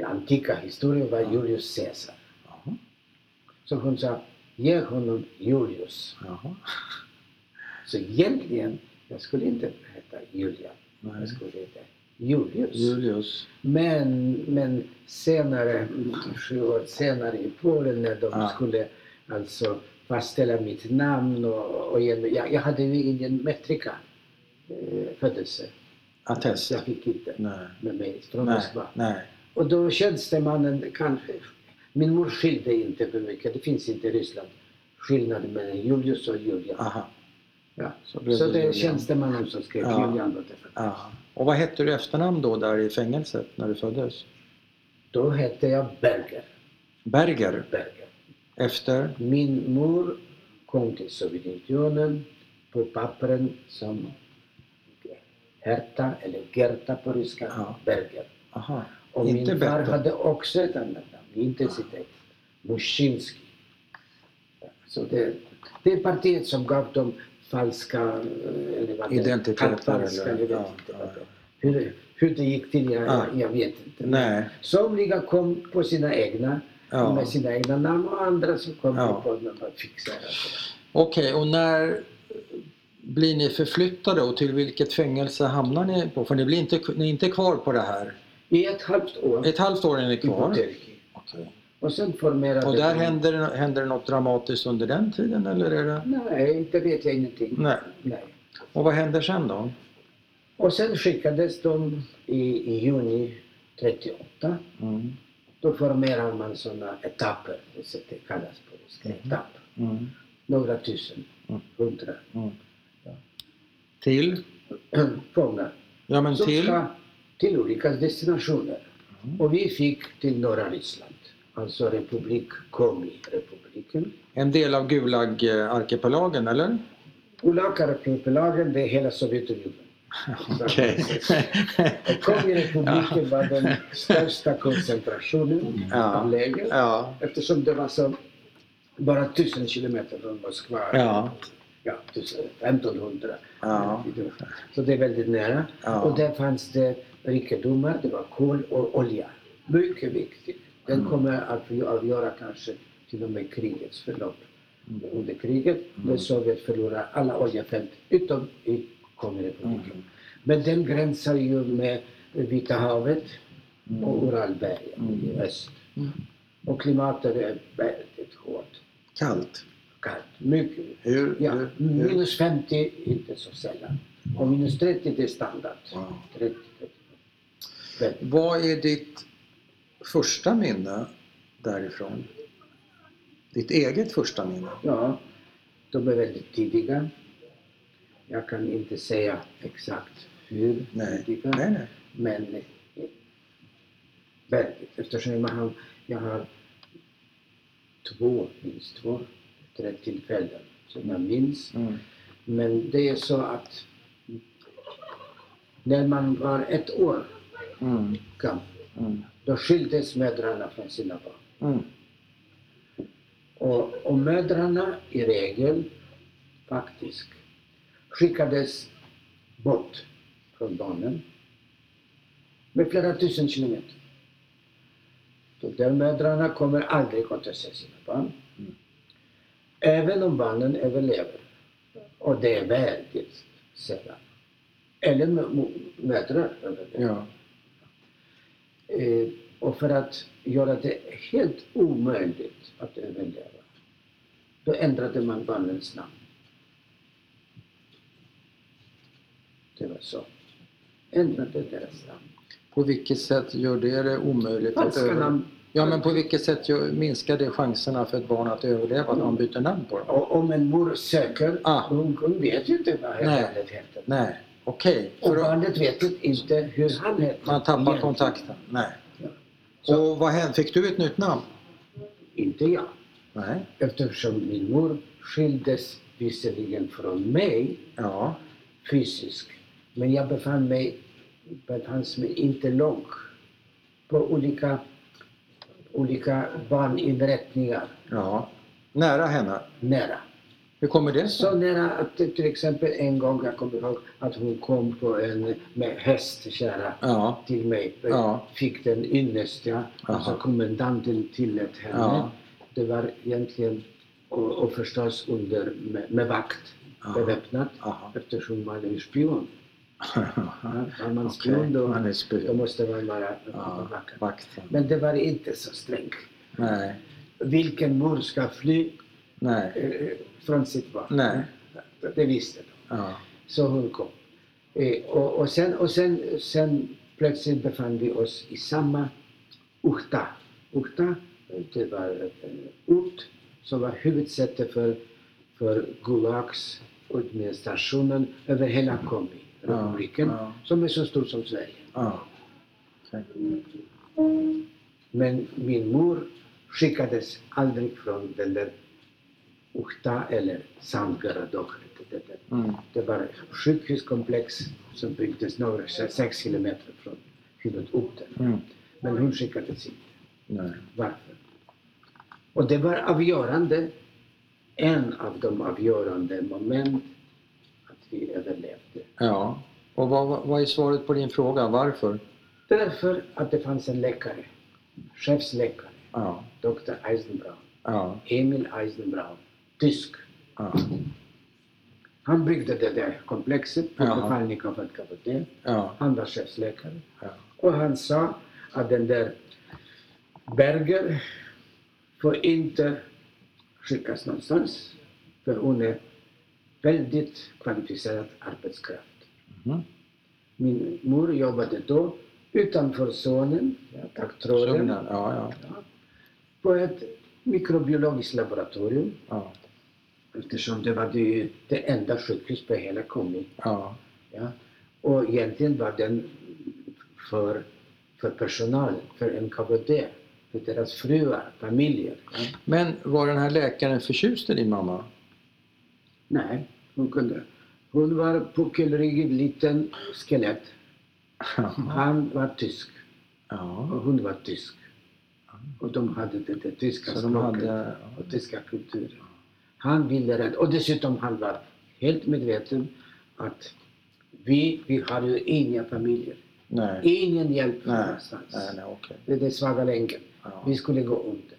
Speaker 1: antika historien var Julius Caesar.
Speaker 2: jaha,
Speaker 1: Så hon sa, ge honom Julius.
Speaker 2: jaha.
Speaker 1: Så egentligen, jag skulle inte heta Julia.
Speaker 2: Nej.
Speaker 1: Jag skulle heta Julius.
Speaker 2: Julius.
Speaker 1: Men, men senare, sju år senare i Polen när de
Speaker 2: Ja.
Speaker 1: skulle alltså fastställa mitt namn och, och ge mig- jag, jag hade ju ingen metrika eh, födelse.
Speaker 2: Attest.
Speaker 1: Så jag fick inte
Speaker 2: Nej,
Speaker 1: med mig från
Speaker 2: nej,
Speaker 1: Moskva.
Speaker 2: nej.
Speaker 1: Och då tjänstemannen kanske... Min mor skilde inte för mycket. Det finns inte i Ryssland skillnad mellan Julius och Julia.
Speaker 2: Aha,
Speaker 1: Ja.
Speaker 2: så blev
Speaker 1: Så det är
Speaker 2: Julian.
Speaker 1: tjänstemannen som skrev
Speaker 2: Ja.
Speaker 1: Julian. då därför.
Speaker 2: Ja. Och vad hette du i efternamn då där i fängelset när du föddes?
Speaker 1: Då hette jag Berger.
Speaker 2: Berger.
Speaker 1: Berger.
Speaker 2: Efter?
Speaker 1: Min mor kom till Sovjetunionen på pappren som Herta eller Gerta på ryska,
Speaker 2: Ja.
Speaker 1: Berger.
Speaker 2: Aha.
Speaker 1: Och
Speaker 2: Inte
Speaker 1: min far
Speaker 2: Berta.
Speaker 1: hade också ett annat namn, inte sitt eget. Muschinski. Så det, det är partiet som gav dem falska... eh, Eller vad det-
Speaker 2: Identiteter
Speaker 1: halvfalska,
Speaker 2: eller-
Speaker 1: jag vet
Speaker 2: ja,
Speaker 1: inte
Speaker 2: ja,
Speaker 1: vad
Speaker 2: ja.
Speaker 1: det- Hur, hur det gick till, jag,
Speaker 2: Ja.
Speaker 1: jag vet inte.
Speaker 2: Nej.
Speaker 1: Somliga kom på sina egna,
Speaker 2: Ja.
Speaker 1: med sina egna namn och andra som kom
Speaker 2: Ja.
Speaker 1: på när man fixade. det.
Speaker 2: Okej, och när blir ni förflyttade och till vilket fängelse hamnar ni på? För ni, blir inte, ni är inte kvar på det här.
Speaker 1: I ett halvt år
Speaker 2: Ett halvt år är ni
Speaker 1: i
Speaker 2: kvar.
Speaker 1: Butelki.
Speaker 2: Okej.
Speaker 1: Och sen formerade
Speaker 2: Och där
Speaker 1: de-
Speaker 2: händer, det- händer det något dramatiskt under den tiden eller är det?
Speaker 1: Nej, det vet jag ingenting.
Speaker 2: Nej.
Speaker 1: Nej.
Speaker 2: Och vad händer sen då?
Speaker 1: Och sen skickades de i, i juni 38.
Speaker 2: Mm.
Speaker 1: Då formerar man sådana etapper, så det kallas på ryska,
Speaker 2: Mhm.
Speaker 1: etapp.
Speaker 2: Mm.
Speaker 1: Några tusen,
Speaker 2: Mm.
Speaker 1: hundra
Speaker 2: Mm. Till?
Speaker 1: fångar.
Speaker 2: Ja men
Speaker 1: Som
Speaker 2: till?
Speaker 1: ska till olika destinationer.
Speaker 2: Mm.
Speaker 1: Och vi fick till norra Ryssland, alltså republik Komi-republiken.
Speaker 2: En del av Gulag-arkipelagen eller?
Speaker 1: Gulagarpipelagen, det är hela Sovjetunionen.
Speaker 2: Okej.
Speaker 1: Och Komi-republiken var den största koncentrationen
Speaker 2: Ja.
Speaker 1: av läger.
Speaker 2: ja.
Speaker 1: Eftersom det var så bara tusen kilometer från Moskva.
Speaker 2: Ja.
Speaker 1: Ja, 1000, 1500.
Speaker 2: Ja.
Speaker 1: Så det är väldigt nära.
Speaker 2: Ja.
Speaker 1: Och där fanns det rikedomar, det var kol och olja. Mycket viktigt. Den
Speaker 2: Mm.
Speaker 1: kommer att ju avgöra kanske till och med krigets förlopp.
Speaker 2: Mm.
Speaker 1: Under kriget när Sovjet förlorar alla oljefält utom i
Speaker 2: Mm.
Speaker 1: Kommunrepubliken. Men den gränsar ju med Vita havet
Speaker 2: Mm.
Speaker 1: och Uralbergen i öst. Och klimatet är väldigt hårt.
Speaker 2: Kallt.
Speaker 1: Kallt. Mycket.
Speaker 2: Hur?
Speaker 1: Ja,
Speaker 2: hur- hur?
Speaker 1: minus 50 inte så sällan. Och minus 30 det är standard.
Speaker 2: Wow.
Speaker 1: 30, 30. Men
Speaker 2: Vad är ditt första minne därifrån? Ditt eget första minne?
Speaker 1: ja, De är väldigt tidiga. Jag kan inte säga exakt hur
Speaker 2: Nej.
Speaker 1: tidiga.
Speaker 2: Nej, nej.
Speaker 1: Men eh, väldigt, eftersom jag har, jag har två, minst två, tre tillfällen som jag minns.
Speaker 2: Mm.
Speaker 1: Men det är så att när man var ett år
Speaker 2: Mm.
Speaker 1: gammal,
Speaker 2: Mm.
Speaker 1: då skildes mödrarna från sina barn.
Speaker 2: Mm.
Speaker 1: Och, och mödrarna i regel faktiskt skickades bort från barnen med flera tusen kilometer. Så de mödrarna kommer aldrig att se sina barn.
Speaker 2: Mm.
Speaker 1: Även om barnen överlever. Och det är väldigt sällan. Eller mö- mö- mödrar överlever.
Speaker 2: Ja.
Speaker 1: Eh, och för att göra det helt omöjligt att överleva, då ändrade man barnens namn. Det var så. Ändrade deras namn.
Speaker 2: På vilket sätt gör det det omöjligt att
Speaker 1: Falska
Speaker 2: överleva?
Speaker 1: namn.
Speaker 2: Ja, men på vilket sätt gör, minskar det chanserna för ett barn att överleva när man byter namn på dem?
Speaker 1: Och om en mor söker,
Speaker 2: Ah.
Speaker 1: hon, hon vet ju inte vad
Speaker 2: Nej.
Speaker 1: barnet heter.
Speaker 2: Nej, okej.
Speaker 1: Och
Speaker 2: För då-
Speaker 1: barnet vet ju inte hur han heter.
Speaker 2: Man tappar
Speaker 1: egentligen.
Speaker 2: kontakten. Nej.
Speaker 1: Ja.
Speaker 2: Och vad hände? Fick du ett nytt namn?
Speaker 1: Inte jag.
Speaker 2: Nej.
Speaker 1: Eftersom min mor skildes visserligen från mig,
Speaker 2: Ja.
Speaker 1: fysisk. Men jag befann mig, befanns mig inte långt på olika, olika barninrättningar
Speaker 2: Ja. Nära henne.
Speaker 1: nära.
Speaker 2: Hur kommer det sig?
Speaker 1: Så nära att det till exempel en gång, jag kommer ihåg att hon kom på en med hästkärra
Speaker 2: Ja.
Speaker 1: till mig.
Speaker 2: Ja.
Speaker 1: Fick den ynnesta, alltså
Speaker 2: Aha.
Speaker 1: kommendanten tillät henne.
Speaker 2: Ja.
Speaker 1: Det var egentligen, och, och förstås under, med, med vakt,
Speaker 2: Aha.
Speaker 1: beväpnad,
Speaker 2: Aha.
Speaker 1: eftersom man är ju spion. Ja, Var man
Speaker 2: Okej,
Speaker 1: spion då,
Speaker 2: man är
Speaker 1: då
Speaker 2: spion.
Speaker 1: måste man vara
Speaker 2: Ja,
Speaker 1: vacker.
Speaker 2: vakten.
Speaker 1: Men det var inte så strängt.
Speaker 2: Nej.
Speaker 1: Vilken mor ska fly
Speaker 2: Nej.
Speaker 1: eh, från sitt barn?
Speaker 2: Nej.
Speaker 1: Det visste de.
Speaker 2: Ja.
Speaker 1: Så hon kom. Eh, och, och, sen, och sen, sen plötsligt befann vi oss i samma Uhta. Uhta, eh, det var en ort som var huvudsäte för, för Gulags administrationen över hela Komi-republiken,
Speaker 2: Ja, ja.
Speaker 1: som är så stor som Sverige.
Speaker 2: Ja. Okej.
Speaker 1: Men min mor skickades aldrig från den där Uhta eller Sandgaradok. Det, det,
Speaker 2: Mm.
Speaker 1: det var ett sjukhuskomplex som byggdes några sex kilometer från huvudorten.
Speaker 2: Mm.
Speaker 1: Men hon skickades inte.
Speaker 2: Nej.
Speaker 1: Varför? Och det var avgörande, en av de avgörande moment att vi överlevde.
Speaker 2: Ja. Och vad, vad är svaret på din fråga? Varför?
Speaker 1: Därför att det fanns en läkare, chefsläkare,
Speaker 2: Ja.
Speaker 1: Dr. Eisenbraun.
Speaker 2: Ja.
Speaker 1: Emil Eisenbraun, tysk.
Speaker 2: Ja.
Speaker 1: Han byggde det där komplexet på
Speaker 2: Jaha.
Speaker 1: Kafalnikov och Kapotén.
Speaker 2: Ja.
Speaker 1: Han var chefsläkare.
Speaker 2: Ja.
Speaker 1: Och han sa att den där Berger får inte skickas någonstans. För hon är väldigt kvalificerad arbetskraft.
Speaker 2: Mhm.
Speaker 1: Min mor jobbade då utanför zonen, ja, taggtråden,
Speaker 2: Sömnen. Ja, ja.
Speaker 1: på ett mikrobiologiskt laboratorium.
Speaker 2: Ja.
Speaker 1: Eftersom det var det, det enda sjukhus på hela kommunen.
Speaker 2: Ja.
Speaker 1: Ja? Och egentligen var den för, för personalen, för NKVD, för deras fruar, familjer. Ja?
Speaker 2: Men var den här läkaren förtjust i din mamma?
Speaker 1: Nej, hon kunde. Hon var puckelryggig, liten skelett. Han var tysk
Speaker 2: Ja.
Speaker 1: och hon var tysk. Och de hade det, det tyska
Speaker 2: Så de
Speaker 1: språket
Speaker 2: hade...
Speaker 1: och tyska kulturen. Han ville rädda, och dessutom han var helt medveten att vi, vi har ju inga familjer.
Speaker 2: Nej.
Speaker 1: Ingen hjälp från
Speaker 2: Nej.
Speaker 1: någonstans.
Speaker 2: Nej, nej, okej.
Speaker 1: Det är den svaga länken.
Speaker 2: Ja.
Speaker 1: Vi skulle gå under.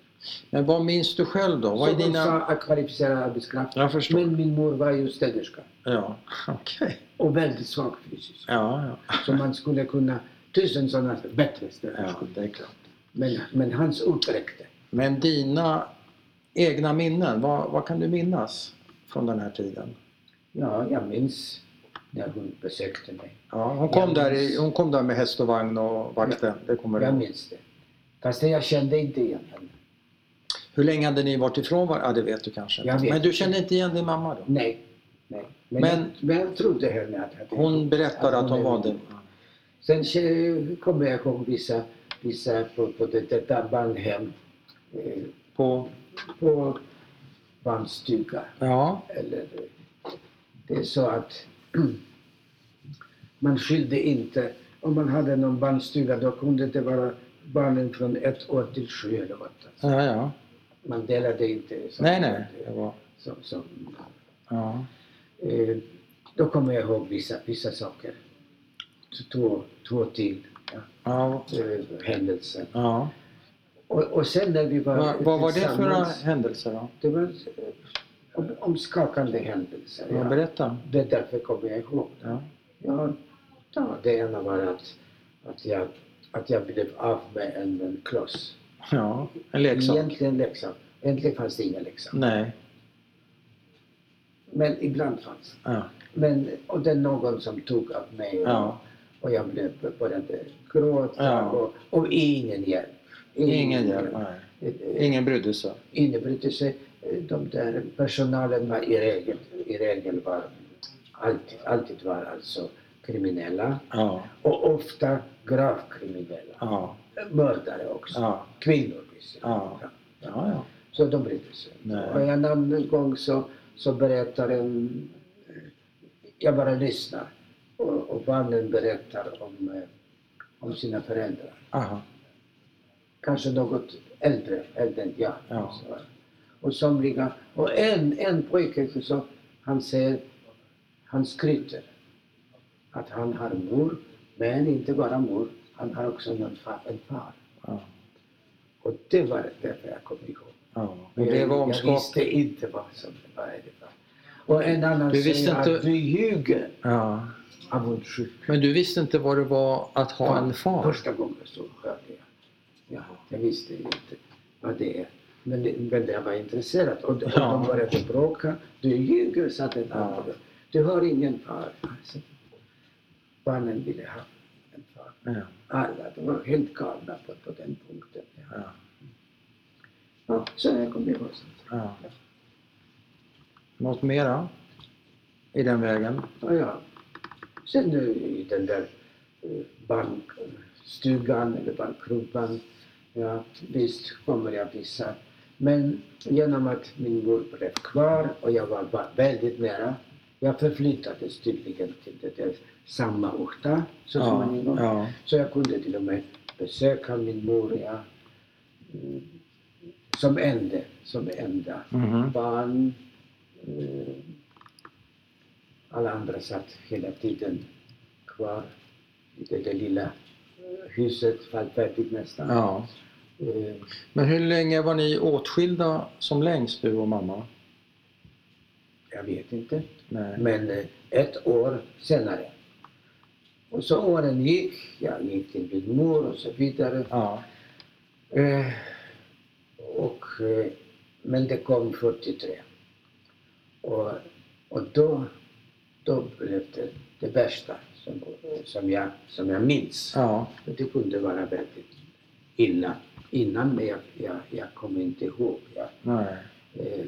Speaker 2: Men vad minns du själv då? Vad
Speaker 1: Så
Speaker 2: är
Speaker 1: de sa
Speaker 2: dina...
Speaker 1: att kvalificerad arbetskraft.
Speaker 2: Jag förstår.
Speaker 1: Men min mor var ju städerska
Speaker 2: Ja, okej.
Speaker 1: och väldigt svag fysiskt.
Speaker 2: Ja, ja.
Speaker 1: Så man skulle kunna tusen sådana bättre
Speaker 2: ja,
Speaker 1: städerskor.
Speaker 2: det är klart.
Speaker 1: Men, men hans ord räckte.
Speaker 2: Men dina egna minnen, vad, vad kan du minnas från den här tiden?
Speaker 1: Ja, jag minns när hon besökte mig.
Speaker 2: Ja, hon, kom
Speaker 1: Jag
Speaker 2: där
Speaker 1: minns-
Speaker 2: i, hon kom där med häst och vagn och vakten, det kommer du
Speaker 1: Jag
Speaker 2: ihåg.
Speaker 1: minns det. Fast jag kände inte igen henne.
Speaker 2: Hur länge hade ni varit ifrån varandra? Ja, det vet du kanske.
Speaker 1: Jag vet
Speaker 2: Men du
Speaker 1: inte.
Speaker 2: kände inte igen din mamma då?
Speaker 1: Nej, nej. Men,
Speaker 2: Men-
Speaker 1: jag, men jag trodde henne att att-
Speaker 2: Hon berättade
Speaker 1: att
Speaker 2: att hon
Speaker 1: är-
Speaker 2: var det.
Speaker 1: Sen eh, kommer jag ihåg vissa, vissa på, på det- detta bandhem, eh,
Speaker 2: På...
Speaker 1: på bandstuga.
Speaker 2: Ja.
Speaker 1: Eller, det är så att man skilde inte. Om man hade någon bandstuga då kunde det vara barnen från ett år till sju eller åtta.
Speaker 2: Ja, ja.
Speaker 1: Man delade inte. som-
Speaker 2: Nej, nej. Det var...
Speaker 1: Som, som,
Speaker 2: Ja.
Speaker 1: eh, då kommer jag ihåg vissa, vissa saker. Två, två till ja,
Speaker 2: Ja.
Speaker 1: eh, händelser.
Speaker 2: ja.
Speaker 1: Och, och sen när vi var
Speaker 2: Va, vad var det för några
Speaker 1: tillsammans,
Speaker 2: händelser då?
Speaker 1: Det var eh, om, omskakande händelser.
Speaker 2: Ja,
Speaker 1: Ja.
Speaker 2: berätta.
Speaker 1: Det är därför kommer jag ihåg.
Speaker 2: Ja.
Speaker 1: Ja, ja, det ena var att, att, jag, att jag blev av med en, en kloss.
Speaker 2: ja. En leksak? Mm.
Speaker 1: Egentligen läxa. Egentligen fanns det inga läxa.
Speaker 2: Nej.
Speaker 1: Men ibland fanns
Speaker 2: Ja.
Speaker 1: Men Och det är någon som tog av mig
Speaker 2: ja.
Speaker 1: och jag blev, började gråta
Speaker 2: Ja.
Speaker 1: och, och ingen hjälp.
Speaker 2: Ingen hjälp. Nej.
Speaker 1: Eh,
Speaker 2: Ingen brydde sig.
Speaker 1: innebrydde sig. Eh, De där personalen var i regel, i regel var, alltid, alltid var alltså kriminella
Speaker 2: Ja.
Speaker 1: och ofta gravt kriminella.
Speaker 2: Ja.
Speaker 1: Mördare också.
Speaker 2: Ja.
Speaker 1: Kvinnor visserligen.
Speaker 2: Ja. Ja, ja.
Speaker 1: Så de brydde sig
Speaker 2: Nej.
Speaker 1: Och en annan gång så, så berättar en... eh, Jag bara lyssnar. Och, och barnen berättar om, eh, om sina föräldrar.
Speaker 2: Aha.
Speaker 1: kanske något äldre, äldre än jag.
Speaker 2: Ja.
Speaker 1: Så. Och somliga, och en, en pojke, så, han säger, han skryter att han har mor, men inte bara mor, han har också en far. En far.
Speaker 2: Ja.
Speaker 1: Och det var därför jag kom ihåg.
Speaker 2: ja. Men det
Speaker 1: jag,
Speaker 2: var
Speaker 1: jag
Speaker 2: omskakande.
Speaker 1: visste inte vad som vad är det var. Och en annan
Speaker 2: Du visste
Speaker 1: säger
Speaker 2: inte-
Speaker 1: att du ljuger
Speaker 2: Ja.
Speaker 1: av avundsjuka.
Speaker 2: Men du visste inte vad det var att ha en far?
Speaker 1: Första gången så hörde jag. Ja, jag visste inte vad det är. Men, det- men jag var intresserad. Och, och
Speaker 2: Ja.
Speaker 1: de började bråka. Du ljuger, sa den
Speaker 2: Ja.
Speaker 1: andra. Du har ingen far. Alltså, barnen ville ha en far.
Speaker 2: Ja.
Speaker 1: Alla, de var helt galna på, på den punkten. Ja.
Speaker 2: Ja.
Speaker 1: Ja, så jag kommer ihåg sånt.
Speaker 2: Ja. Något mera i den vägen?
Speaker 1: Ja, ja. Sen nu i den där eh, bankstugan eller bankkrubban. Ja, visst kommer jag vissa. Men genom att min mor blev kvar och jag var ba- väldigt nära. Jag förflyttades tydligen till det där samma orta så
Speaker 2: Ja,
Speaker 1: småningom.
Speaker 2: ja,
Speaker 1: Så jag kunde till och med besöka min mor. Ja. Mm, Som ende, som enda
Speaker 2: mhm,
Speaker 1: barn. eh, Alla andra satt hela tiden kvar i det där lilla eh, huset, fallfärdigt nästan.
Speaker 2: ja.
Speaker 1: Eh,
Speaker 2: Men hur länge var ni åtskilda som längst, du och mamma?
Speaker 1: Jag vet inte.
Speaker 2: Nej.
Speaker 1: Men eh, ett år senare. Och så åren gick. Jag gick till min mor och så vidare.
Speaker 2: Ja,
Speaker 1: Eh, och, eh, men det kom 43. Och, och då, då blev det det värsta som, som, jag, som jag minns.
Speaker 2: ja,
Speaker 1: För Det kunde vara väldigt illa innan, men jag, jag, jag kommer inte ihåg. Jag,
Speaker 2: nej.
Speaker 1: eh,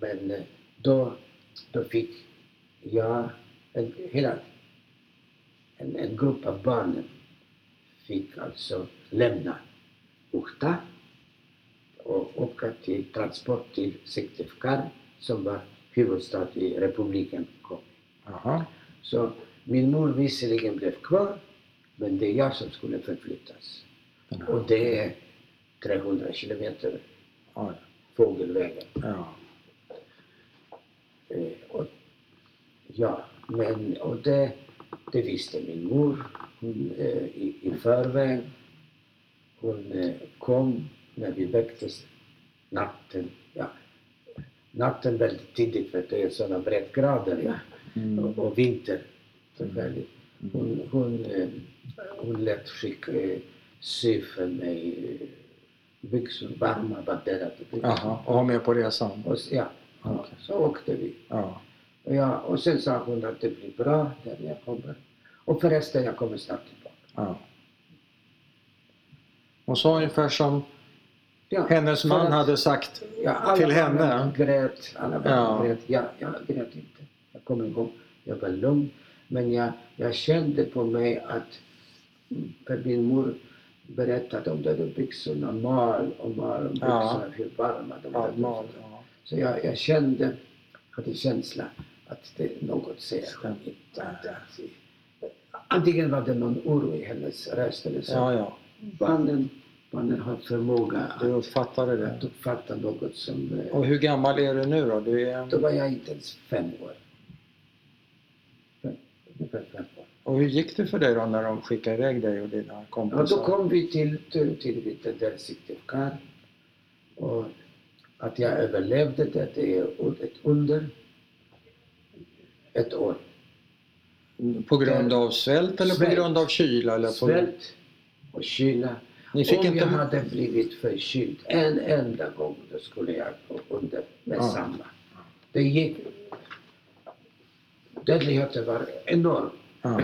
Speaker 1: men eh, då, då fick jag, en, hela en, en grupp av barnen fick alltså lämna Uhta och åka till transport till Sektevkar som var huvudstad i republiken Kongo.
Speaker 2: Aha.
Speaker 1: Så min mor visserligen blev kvar, men det är jag som skulle förflyttas. Och det är 300 kilometer
Speaker 2: Ja,
Speaker 1: fågelvägen.
Speaker 2: ja.
Speaker 1: Eh, och, ja, men och det, det visste min mor hon, eh, i, i förväg. Hon eh, kom när vi väcktes natten. Ja. Natten väldigt tidigt för det är sådana breddgrader ja.
Speaker 2: Mm.
Speaker 1: och, och vinter. Förfärligt. Hon, hon, eh, hon lät skicka, eh, sy för mig eh, byxor, varma vadderade byxor.
Speaker 2: Aha, och ha med på resan?
Speaker 1: Och, s- ja, ja,
Speaker 2: Okej.
Speaker 1: så åkte vi.
Speaker 2: Ja,
Speaker 1: Och, jag, och sen sa hon att det blir bra där jag kommer. Och förresten, jag kommer snart tillbaka.
Speaker 2: ja. Hon sa ungefär som
Speaker 1: Ja,
Speaker 2: hennes
Speaker 1: för
Speaker 2: man
Speaker 1: att-
Speaker 2: hade sagt
Speaker 1: Ja, alla
Speaker 2: till
Speaker 1: barnen
Speaker 2: henne.
Speaker 1: grät. Alla barnen
Speaker 2: Ja.
Speaker 1: grät. Jag, jag grät inte. Jag kommer ihåg, jag var lugn. Men jag, jag kände på mig att, för min mor berättade om de där byxorna, mal och mal om
Speaker 2: Ja.
Speaker 1: byxorna, hur varma de var.
Speaker 2: Ja, Mal, ja.
Speaker 1: Så jag, jag kände, hade känsla att det är något
Speaker 2: Stämmer.
Speaker 1: särskilt. Antingen var det någon oro i hennes röst eller så.
Speaker 2: ja, ja.
Speaker 1: Barnen, barnen har förmåga att
Speaker 2: Du uppfattade det.
Speaker 1: att uppfatta något som... eh,
Speaker 2: Och hur gammal är du nu då? Du
Speaker 1: Då
Speaker 2: är...
Speaker 1: var jag inte ens fem år. Fem, ungefär fem år.
Speaker 2: Och hur gick det för dig då när de skickade iväg dig och dina
Speaker 1: Ja, då
Speaker 2: kompisar?
Speaker 1: kom vi till, till, till det där Siktivkar. Och att jag överlevde det, det är ett under. Ett år.
Speaker 2: På grund av svält eller på
Speaker 1: Svält.
Speaker 2: grund av kyla? Eller på... grund-
Speaker 1: Svält och kyla.
Speaker 2: Ni fick
Speaker 1: Om jag
Speaker 2: inte...
Speaker 1: hade blivit förkyld en enda gång, då skulle jag gå under med
Speaker 2: Ja.
Speaker 1: samma. Det gick... Dödligheten var enorm.
Speaker 2: Ja,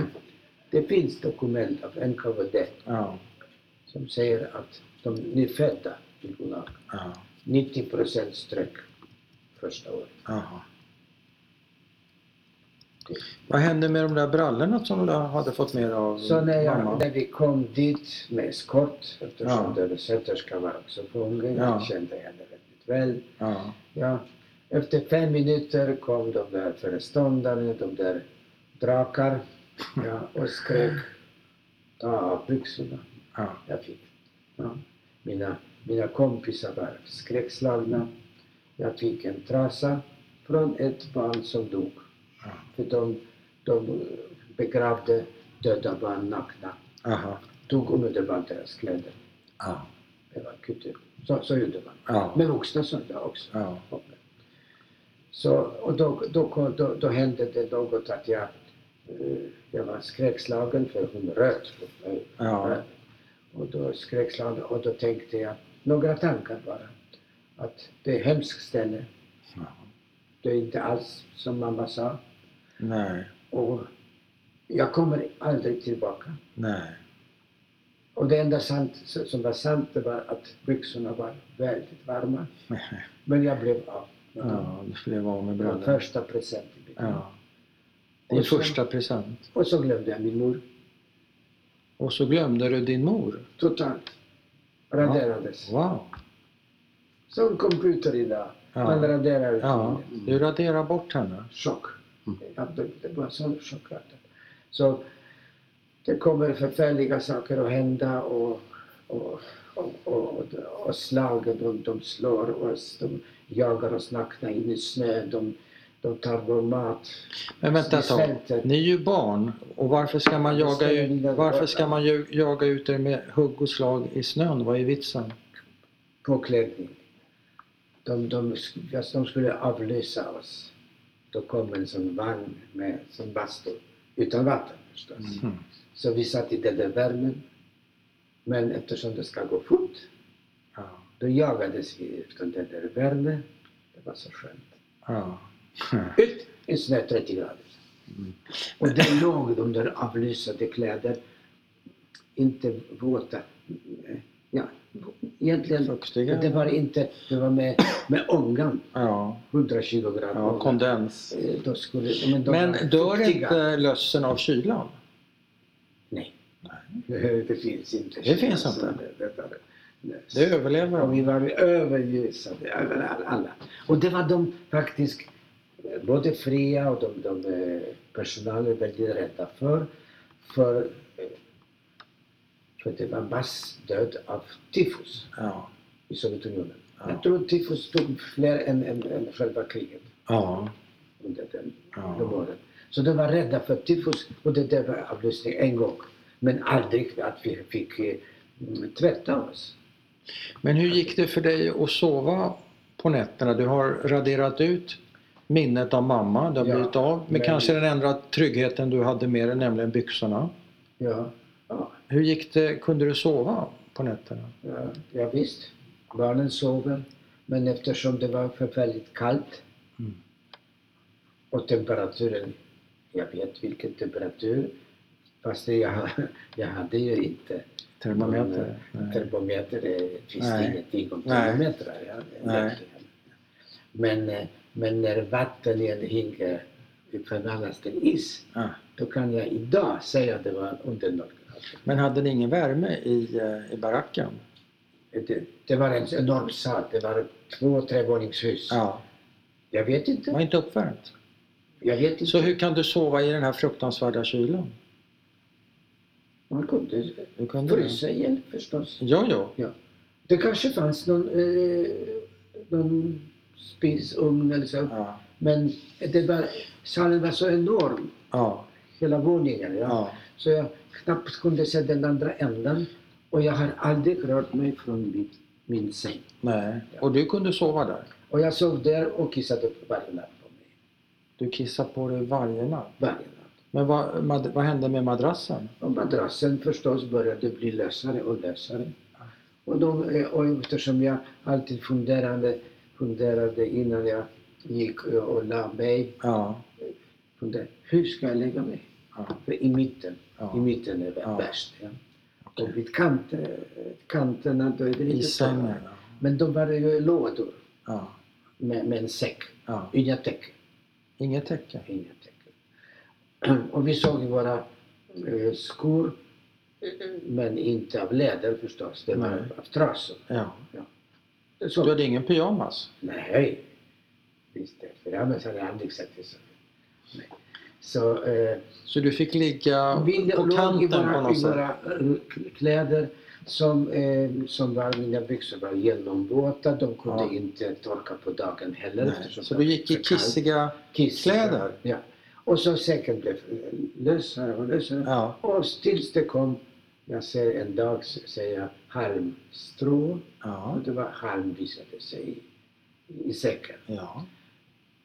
Speaker 1: Det finns dokument av NKVD
Speaker 2: ja,
Speaker 1: som säger att de nyfödda i Gulag,
Speaker 2: ja.
Speaker 1: 90 procent strök första året.
Speaker 2: Jaha. Vad hände med de där brallorna som du hade fått med dig av
Speaker 1: Så när, jag,
Speaker 2: Mm, mamma?
Speaker 1: när vi kom dit med eskort, eftersom
Speaker 2: Ja.
Speaker 1: översätterskan var också fången,
Speaker 2: Ja.
Speaker 1: jag kände henne väldigt väl.
Speaker 2: Ja,
Speaker 1: Ja, efter fem minuter kom de där föreståndare, de där drakar, ja, och skrek ta av byxorna.
Speaker 2: ja,
Speaker 1: jag fick. Ja. Mina, mina kompisar var skräckslagna. Jag fick en trasa från ett barn som dog.
Speaker 2: Ja.
Speaker 1: För de, de begravde döda barn nakna.
Speaker 2: aha,
Speaker 1: Tog omedelbart deras kläder.
Speaker 2: ja,
Speaker 1: Det var kultur. Så, så gjorde man.
Speaker 2: ja,
Speaker 1: Med vuxna sådana också.
Speaker 2: ja,
Speaker 1: Så, och då, då, kom- då, då hände det något att jag, eh, jag var skräckslagen för hon röt på mig.
Speaker 2: ja,
Speaker 1: Och då skrek han och då tänkte jag några tankar bara. Att det är ett hemskt ställe.
Speaker 2: ja.
Speaker 1: Det är inte alls som mamma sa.
Speaker 2: Nej,
Speaker 1: Och jag kommer aldrig tillbaka.
Speaker 2: nej,
Speaker 1: Och det enda sant, som var sant det var att byxorna var väldigt varma.
Speaker 2: nej.
Speaker 1: Men jag blev av med dem.
Speaker 2: Ja, du blev av med
Speaker 1: Det var
Speaker 2: brallorna.
Speaker 1: första presenten.
Speaker 2: Ja. Din
Speaker 1: Och sen-
Speaker 2: första present.
Speaker 1: Och så glömde jag min mor.
Speaker 2: Och så glömde du din mor.
Speaker 1: Totalt. Raderades.
Speaker 2: Wow.
Speaker 1: Som computer idag. Man
Speaker 2: Ja,
Speaker 1: raderar.
Speaker 2: ja.
Speaker 1: Mm.
Speaker 2: du raderar bort henne.
Speaker 1: chock.
Speaker 2: Mm.
Speaker 1: Att det, det var sån chockartad. Så det kommer förfärliga saker att hända och, och, och, och, och slagen, de, de slår oss, de jagar oss nakna in i snö, de, de tar vår mat.
Speaker 2: Men vänta ett tag. Ni är ju barn och varför ska man jaga, ju- varför ska man ju- jaga ut er med hugg och slag i snön? Vad är vitsen?
Speaker 1: Påklädning. De, de, sk- de skulle avlysa oss. Då kom en sån vagn med sån bastu, utan vatten förstås.
Speaker 2: Mm.
Speaker 1: Så vi satt i den där värmen. Men eftersom det ska gå fort
Speaker 2: Ja,
Speaker 1: Då jagades vi efter den där värmen. Det var så skönt.
Speaker 2: ja.
Speaker 1: Ut! En sån där 30 grader.
Speaker 2: Mm.
Speaker 1: Och där låg de där avlysade kläder. Inte våta. eh, Ja, egentligen.
Speaker 2: Fuktiga.
Speaker 1: Det var inte, det var med, med ångan.
Speaker 2: Ja,
Speaker 1: 100 kilo gram
Speaker 2: ja,
Speaker 1: ånga.
Speaker 2: kondens.
Speaker 1: Eh, Då skulle, men, de var
Speaker 2: Men dör
Speaker 1: fuktiga.
Speaker 2: inte lössen av kylan?
Speaker 1: Nej. Det finns inte. Alltså,
Speaker 2: Det finns inte.
Speaker 1: Det, det, det, det.
Speaker 2: Det överlever
Speaker 1: Och
Speaker 2: de.
Speaker 1: vi var överljusade över all- alla. Och det var de faktiskt eh, både fria och de, de eh, personalen väldigt rädda för. För, eh, för det var massdöd av tyfus
Speaker 2: Ja,
Speaker 1: i Sovjetunionen.
Speaker 2: Ja.
Speaker 1: Jag tror tyfus tog fler än, än, än själva kriget
Speaker 2: ja,
Speaker 1: under den, de
Speaker 2: ja.
Speaker 1: åren. Så de var rädda för tyfus och det där var avlösning en gång. Men aldrig att vi fick eh, mm, tvätta oss.
Speaker 2: Men hur gick det för dig att sova på nätterna? Du har raderat ut minnet av mamma, du har
Speaker 1: Ja,
Speaker 2: blivit av med
Speaker 1: men-
Speaker 2: kanske den enda tryggheten du hade med dig, nämligen byxorna.
Speaker 1: Ja. ja.
Speaker 2: Hur gick det, kunde du sova på nätterna?
Speaker 1: Ja, ja visst. Barnen sover. Men eftersom det var förfärligt kallt
Speaker 2: Mm.
Speaker 1: och temperaturen, jag vet vilken temperatur, Fast det jag, jag hade ju inte
Speaker 2: Termometer?
Speaker 1: någon, eh,
Speaker 2: Nej.
Speaker 1: termometer. Det finns
Speaker 2: Nej.
Speaker 1: ingenting om
Speaker 2: Nej.
Speaker 1: termometrar. Ja,
Speaker 2: Nej.
Speaker 1: verkligen. Men, eh, men när vatten i en hink eh, förvandlas till is,
Speaker 2: Ah.
Speaker 1: då kan jag idag säga att det var under noll. grader.
Speaker 2: Men hade ni ingen värme i, eh, i baracken?
Speaker 1: Eh, Det, det var en enorm sal. Det var två trevåningshus.
Speaker 2: Ja,
Speaker 1: Jag vet
Speaker 2: det var
Speaker 1: inte.
Speaker 2: inte uppvärmt.
Speaker 1: Jag vet inte.
Speaker 2: Så hur kan du sova i den här fruktansvärda kylan?
Speaker 1: Man kunde
Speaker 2: Hur kunde du?
Speaker 1: frysa ihjäl förstås.
Speaker 2: Jo, jo.
Speaker 1: Det kanske fanns någon, eh, någon spisugn eller så.
Speaker 2: Ja,
Speaker 1: Men det var, salen var så enorm,
Speaker 2: ja,
Speaker 1: hela våningen. Ja.
Speaker 2: ja.
Speaker 1: Så jag knappt kunde se den andra änden. Och jag har aldrig rört mig från min, min säng.
Speaker 2: Nej. Och du kunde sova där?
Speaker 1: Och jag sov där och kissade upp varje natt på mig.
Speaker 2: Du kissade på dig varje natt.
Speaker 1: Varje natt.
Speaker 2: Men vad, mad, vad hände med madrassen?
Speaker 1: Och madrassen förstås började bli lösare och lösare. Och, de, eh, och eftersom jag alltid funderade, funderade innan jag gick eh, och la mig.
Speaker 2: Ja,
Speaker 1: Funderade, hur ska jag lägga mig?
Speaker 2: ja,
Speaker 1: För i mitten, i
Speaker 2: ja.
Speaker 1: mitten är det
Speaker 2: Ja.
Speaker 1: värst. Ja.
Speaker 2: Okej.
Speaker 1: Och vid kant, eh, kanterna då är det
Speaker 2: I
Speaker 1: lite
Speaker 2: sängen?
Speaker 1: torrare. Men de var ju lådor
Speaker 2: Ja,
Speaker 1: med, med en säck.
Speaker 2: ja.
Speaker 1: Inga täcken.
Speaker 2: Inget täcke?
Speaker 1: Inga täcken. Och vi såg ju våra eh, skor. Men inte av läder förstås, det var
Speaker 2: Nej.
Speaker 1: av trasor.
Speaker 2: Ja.
Speaker 1: Det såg
Speaker 2: Du hade ingen pyjamas?
Speaker 1: Nej, visst det. För det hade jag aldrig sett i så. Nej. Så eh,
Speaker 2: Så du fick ligga
Speaker 1: vi
Speaker 2: på
Speaker 1: låg i
Speaker 2: kanten på
Speaker 1: våra,
Speaker 2: något
Speaker 1: i
Speaker 2: sätt?
Speaker 1: våra eh, kläder som, eh, som var, mina byxor var genomvåta. De kunde
Speaker 2: Ja.
Speaker 1: inte torka på dagen heller.
Speaker 2: Nej.
Speaker 1: eftersom
Speaker 2: Så
Speaker 1: det
Speaker 2: du
Speaker 1: var
Speaker 2: gick i
Speaker 1: för kallt.
Speaker 2: kissiga...
Speaker 1: Kiss.
Speaker 2: kläder?
Speaker 1: Ja. Och så säcken blev lösare och lösare.
Speaker 2: Ja,
Speaker 1: Och tills det kom, jag ser en dag, s- säger jag halmstrå.
Speaker 2: ja,
Speaker 1: Och det var halm visade sig i, i säcken.
Speaker 2: ja.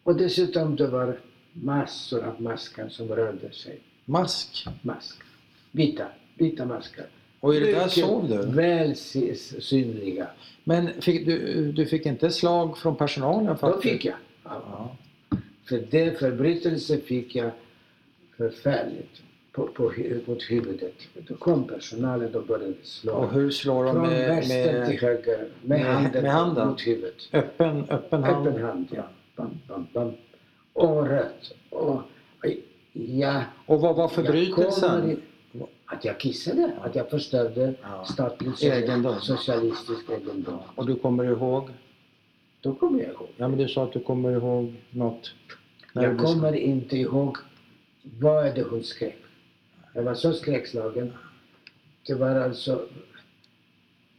Speaker 1: Och dessutom det var massor av maskar som rörde sig.
Speaker 2: Mask?
Speaker 1: Maskar. Vita, vita maskar.
Speaker 2: Och i det där
Speaker 1: Mycket
Speaker 2: sov du?
Speaker 1: Väl sy- synliga.
Speaker 2: Men fick du, du fick inte slag från personalen? För
Speaker 1: Då
Speaker 2: att du-
Speaker 1: fick jag. Ja.
Speaker 2: Ja.
Speaker 1: För det förbrytelse fick jag förfärligt på, på, hu- mot huvudet. Då kom personalen och började slå.
Speaker 2: Och hur slår de
Speaker 1: Från
Speaker 2: med,
Speaker 1: vänster till
Speaker 2: med
Speaker 1: höger. Med,
Speaker 2: med-
Speaker 1: handen,
Speaker 2: med handen?
Speaker 1: mot huvudet.
Speaker 2: öppen, öppen hand?
Speaker 1: Öppen hand, ja. Bam, bam, bam. Och rött. Och, ja,
Speaker 2: Och vad var
Speaker 1: jag kommer
Speaker 2: förbrytelsen?
Speaker 1: i- Att jag kissade. Att jag förstörde
Speaker 2: Ja.
Speaker 1: statlig
Speaker 2: Egendom.
Speaker 1: socialistisk egendom.
Speaker 2: Och du kommer ihåg?
Speaker 1: Då kommer jag ihåg.
Speaker 2: Ja, men du sa att du kommer ihåg något. när
Speaker 1: Jag
Speaker 2: du blev-
Speaker 1: kommer inte ihåg vad är det hon skrek. Jag var så skräckslagen. Det var alltså...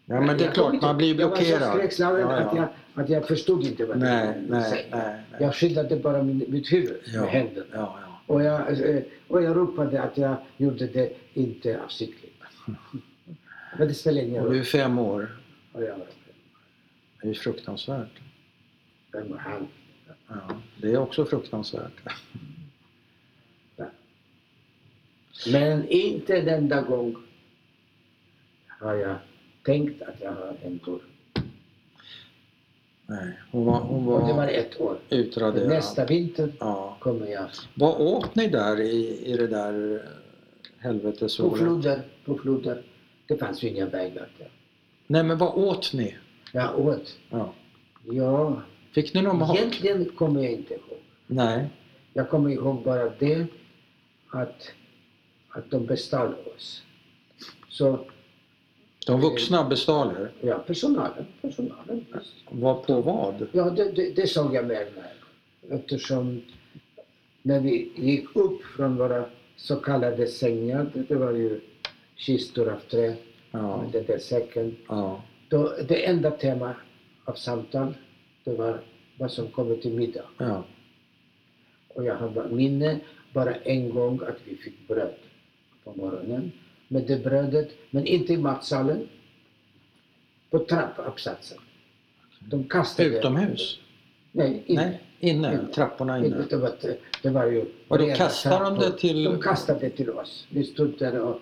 Speaker 2: Ja, men det är
Speaker 1: Jag kom
Speaker 2: klart,
Speaker 1: inte-
Speaker 2: man blir ju
Speaker 1: Jag var så
Speaker 2: blockerad.
Speaker 1: skräckslagen
Speaker 2: Ja, ja.
Speaker 1: Att, jag, att jag förstod inte vad
Speaker 2: Nej,
Speaker 1: det
Speaker 2: nej, nej. nej.
Speaker 1: Jag skyddade bara min, mitt huvud
Speaker 2: Ja,
Speaker 1: med händerna.
Speaker 2: ja, ja.
Speaker 1: Och jag, eh, och jag ropade att jag gjorde det inte avsiktligt. Men det spelar ingen
Speaker 2: Och
Speaker 1: roll.
Speaker 2: du är fem år.
Speaker 1: Och jag var
Speaker 2: Det är ju fruktansvärt.
Speaker 1: vem var han?
Speaker 2: Ja, det är också fruktansvärt.
Speaker 1: Men inte en enda gång har jag tänkt att jag har en tur.
Speaker 2: Nej, hon var, hon
Speaker 1: Och det var
Speaker 2: var
Speaker 1: ett år.
Speaker 2: utraderad.
Speaker 1: Nästa vinter
Speaker 2: Ja.
Speaker 1: kommer jag
Speaker 2: Vad åt ni där i, i det där eh,
Speaker 1: på
Speaker 2: helvetesåret?
Speaker 1: floder, på floder. Det fanns ju inga vägar där.
Speaker 2: Nej, men vad åt ni?
Speaker 1: Jag åt.
Speaker 2: Ja.
Speaker 1: Ja,
Speaker 2: Fick ni någon mat?
Speaker 1: egentligen kommer jag inte ihåg.
Speaker 2: Nej.
Speaker 1: Jag kommer ihåg bara det att, att de bestal oss. Så
Speaker 2: De vuxna bestal er.
Speaker 1: ja, personalen, personalen. visst.
Speaker 2: Vad på vad?
Speaker 1: Ja, det, det, det såg jag mer när. Eftersom när vi gick upp från våra så kallade sängar, det, det var ju kistor av trä,
Speaker 2: Ja.
Speaker 1: den där säcken.
Speaker 2: ja.
Speaker 1: Då, det enda tema av samtal, det var vad som kommer till middag.
Speaker 2: ja.
Speaker 1: Och jag har bara minne bara en gång att vi fick bröd på morgonen. Med det brödet, men inte i matsalen. På trappuppsatsen. De kastade...
Speaker 2: Utomhus?
Speaker 1: Nej, inte.
Speaker 2: Nej, inne.
Speaker 1: Inne.
Speaker 2: Trapporna inne.
Speaker 1: Det var, det var ju...
Speaker 2: Och då
Speaker 1: rena
Speaker 2: kastade de
Speaker 1: trappor.
Speaker 2: det till-
Speaker 1: De kastade det till oss. Vi stod där och,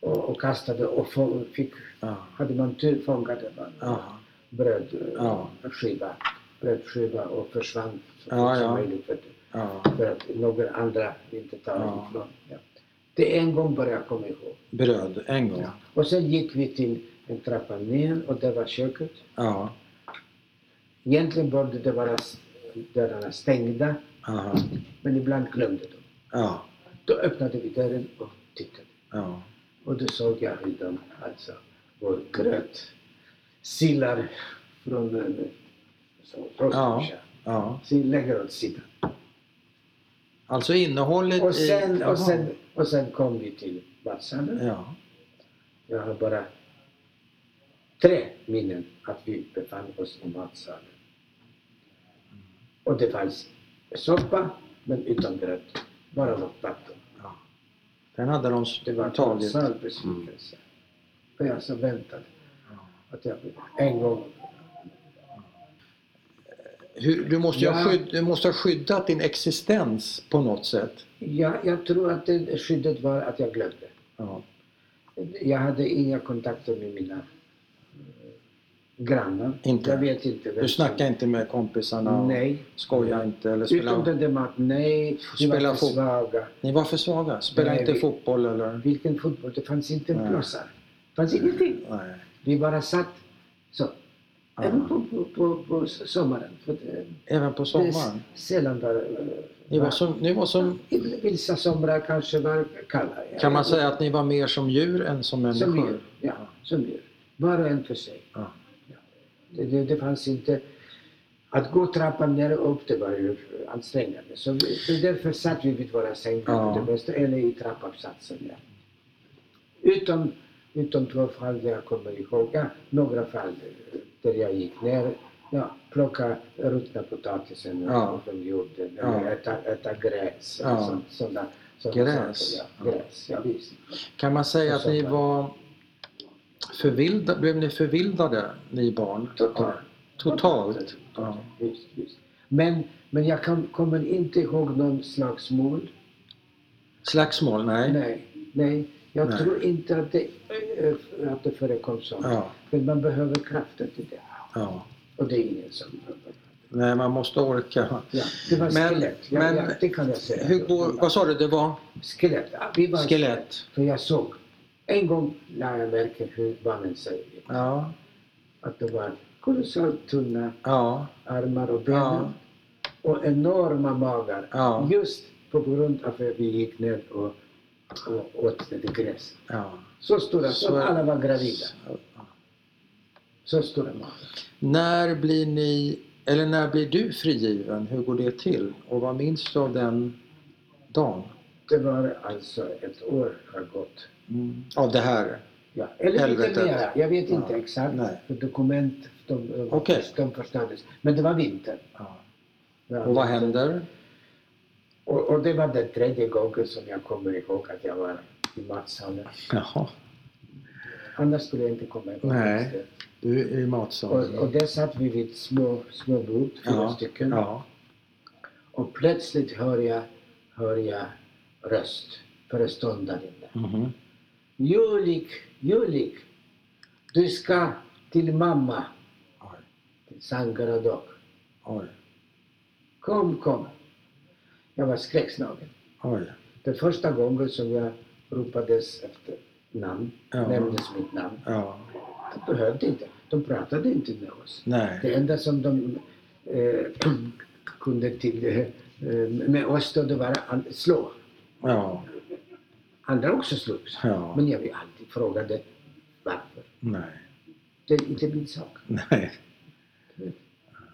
Speaker 1: och, och kastade och få, fick,
Speaker 2: Ja.
Speaker 1: hade man tur fångade man eh,
Speaker 2: Ja. Ja.
Speaker 1: brödskiva, brödskiva och försvann så
Speaker 2: Ja,
Speaker 1: fort som
Speaker 2: ja.
Speaker 1: möjligt för,
Speaker 2: Ja.
Speaker 1: för att några andra inte tar
Speaker 2: Ja.
Speaker 1: ifrån. Ja. Det är en gång bara jag kommer ihåg.
Speaker 2: Bröd en gång.
Speaker 1: Ja. Och sen gick vi till en trappa ner och där var köket.
Speaker 2: Ja.
Speaker 1: Egentligen borde det vara s- dörrarna stängda,
Speaker 2: Aha.
Speaker 1: men ibland glömde de.
Speaker 2: Ja.
Speaker 1: Då öppnade vi dörren och tittade.
Speaker 2: Ja.
Speaker 1: Och då såg jag hur de, alltså, vår gröt, sillar från eh, så,
Speaker 2: Ja.
Speaker 1: frostbrorsa.
Speaker 2: ja.
Speaker 1: Så lägger åt sidan.
Speaker 2: Alltså innehållet
Speaker 1: Och
Speaker 2: i...
Speaker 1: sen,
Speaker 2: Jaha.
Speaker 1: och, sen, och sen kom vi till matsalen.
Speaker 2: Ja.
Speaker 1: Jag har bara tre minnen att vi befann oss i matsalen. Och det fanns soppa, men utan gröt. Bara något vatten.
Speaker 2: ja. Den hade de
Speaker 1: Det var en
Speaker 2: tagit.
Speaker 1: kolossal besvikelse. För jag så väntade
Speaker 2: Ja.
Speaker 1: att jag en gång...
Speaker 2: Hur, du, måste ju ha
Speaker 1: Ja.
Speaker 2: skydd, du måste ha skyddat din existens på något sätt.
Speaker 1: Ja, jag tror att det skyddet var att jag glömde.
Speaker 2: Ja.
Speaker 1: Jag hade inga kontakter med mina eh, grannar.
Speaker 2: Inte?
Speaker 1: Jag vet inte. vem
Speaker 2: Du snackar
Speaker 1: som-
Speaker 2: inte med kompisarna? och
Speaker 1: Nej.
Speaker 2: Skojar inte? Eller
Speaker 1: Utom
Speaker 2: spela,
Speaker 1: den där maten, nej. Vi
Speaker 2: Spela
Speaker 1: var för
Speaker 2: fot-
Speaker 1: svaga.
Speaker 2: ni var för svaga? Spela
Speaker 1: Nej,
Speaker 2: inte
Speaker 1: vi-
Speaker 2: fotboll eller?
Speaker 1: Vilken fotboll, det fanns inte en
Speaker 2: Nej.
Speaker 1: blåsare. Det fanns ingenting.
Speaker 2: Nej.
Speaker 1: Vi bara satt så.
Speaker 2: Ja.
Speaker 1: Även på, på, på, på sommaren. För eh, det,
Speaker 2: Även på
Speaker 1: det är
Speaker 2: sommaren?
Speaker 1: sällan eh, var...
Speaker 2: Ni var som, ni var som
Speaker 1: Ja, Vissa somrar kanske var kalla. ja.
Speaker 2: Kan man säga att ni var mer som djur än som
Speaker 1: Som
Speaker 2: människor?
Speaker 1: djur. Ja, som djur. Var och en för sig.
Speaker 2: Ja.
Speaker 1: Det, det, det fanns inte... Att gå trappan ner och upp det var ju ansträngande. Så vi, så därför satt vi vid våra sängar
Speaker 2: Ja.
Speaker 1: på det bästa, eller i trappuppsatsen. Ja. Utom, utom två fall där jag kommer ihåg, ja, några fall där jag gick ner, ja, plocka ruttna potatisen
Speaker 2: Ja.
Speaker 1: från jorden,
Speaker 2: Ja.
Speaker 1: eller äta, äta gräs,
Speaker 2: Ja.
Speaker 1: eller sånt, sådana, sådana
Speaker 2: Gräs.
Speaker 1: saker. Ja. Gräs, ja visst.
Speaker 2: Kan man säga att ni var förvilda, blev ni förvildade, ni barn?
Speaker 1: Totalt.
Speaker 2: Totalt? Ja.
Speaker 1: Just, just. Men, men jag kan, kommer inte ihåg någon slagsmål.
Speaker 2: Slagsmål? Nej.
Speaker 1: Nej, nej. Jag
Speaker 2: Nej.
Speaker 1: tror inte att det, eh, att det förekom sånt.
Speaker 2: Ja,
Speaker 1: För man behöver kraften till det.
Speaker 2: ja.
Speaker 1: Och det är ingen som behöver.
Speaker 2: Nej, man måste orka.
Speaker 1: Ja, det var
Speaker 2: Men-
Speaker 1: skelett. Ja,
Speaker 2: men-
Speaker 1: ja, det kan jag säga.
Speaker 2: Hur går, vad sa du, det var
Speaker 1: Skelett. Ja, vi var
Speaker 2: skelett?
Speaker 1: För jag såg. En gång lade jag märke hur barnen säger.
Speaker 2: Ja,
Speaker 1: Att de var kolossalt tunna
Speaker 2: ja,
Speaker 1: armar och ben.
Speaker 2: ja,
Speaker 1: och enorma magar.
Speaker 2: Ja.
Speaker 1: Just på grund av att vi gick ner och, och åt lite gräs.
Speaker 2: ja.
Speaker 1: Så stora, så,
Speaker 2: Så-
Speaker 1: alla var gravida. Så stora magar.
Speaker 2: När blir ni, eller när blir du frigiven? Hur går det till? Och vad minns du av den dagen?
Speaker 1: Det var alltså ett år har gått.
Speaker 2: Av det här?
Speaker 1: Ja, eller
Speaker 2: Helvetet.
Speaker 1: lite mera. Jag vet inte
Speaker 2: Ja.
Speaker 1: exakt.
Speaker 2: Nej.
Speaker 1: För dokument, de,
Speaker 2: Okej.
Speaker 1: de förstördes. Men det var vinter.
Speaker 2: Ja.
Speaker 1: Ja,
Speaker 2: Och vad
Speaker 1: vinter.
Speaker 2: händer?
Speaker 1: Och, och det var den tredje gången som jag kommer ihåg att jag var i matsalen.
Speaker 2: Jaha,
Speaker 1: Annars skulle jag inte komma ihåg.
Speaker 2: Nej.
Speaker 1: just det.
Speaker 2: du är i
Speaker 1: Och,
Speaker 2: matsalen.
Speaker 1: och där satt vi vid små, små bord, fyra
Speaker 2: Ja,
Speaker 1: stycken.
Speaker 2: Ja,
Speaker 1: Och plötsligt hör jag, hör jag röst, föreståndaren.
Speaker 2: mhm.
Speaker 1: Julik, Julik, du ska till mamma,
Speaker 2: oj,
Speaker 1: till Sangaradok.
Speaker 2: oj,
Speaker 1: Kom, kom. Jag var skräckslagen.
Speaker 2: oj.
Speaker 1: Det första gången som jag ropades efter namn,
Speaker 2: Ja.
Speaker 1: nämndes mitt namn.
Speaker 2: Ja,
Speaker 1: Det behövde inte. De pratade inte med oss.
Speaker 2: nej.
Speaker 1: Det enda som de eh, kunde till eh, med oss då, det var att slå.
Speaker 2: Ja,
Speaker 1: Andra också slogs.
Speaker 2: ja,
Speaker 1: Men jag blev alltid frågade varför.
Speaker 2: nej,
Speaker 1: Det är inte min sak.
Speaker 2: nej.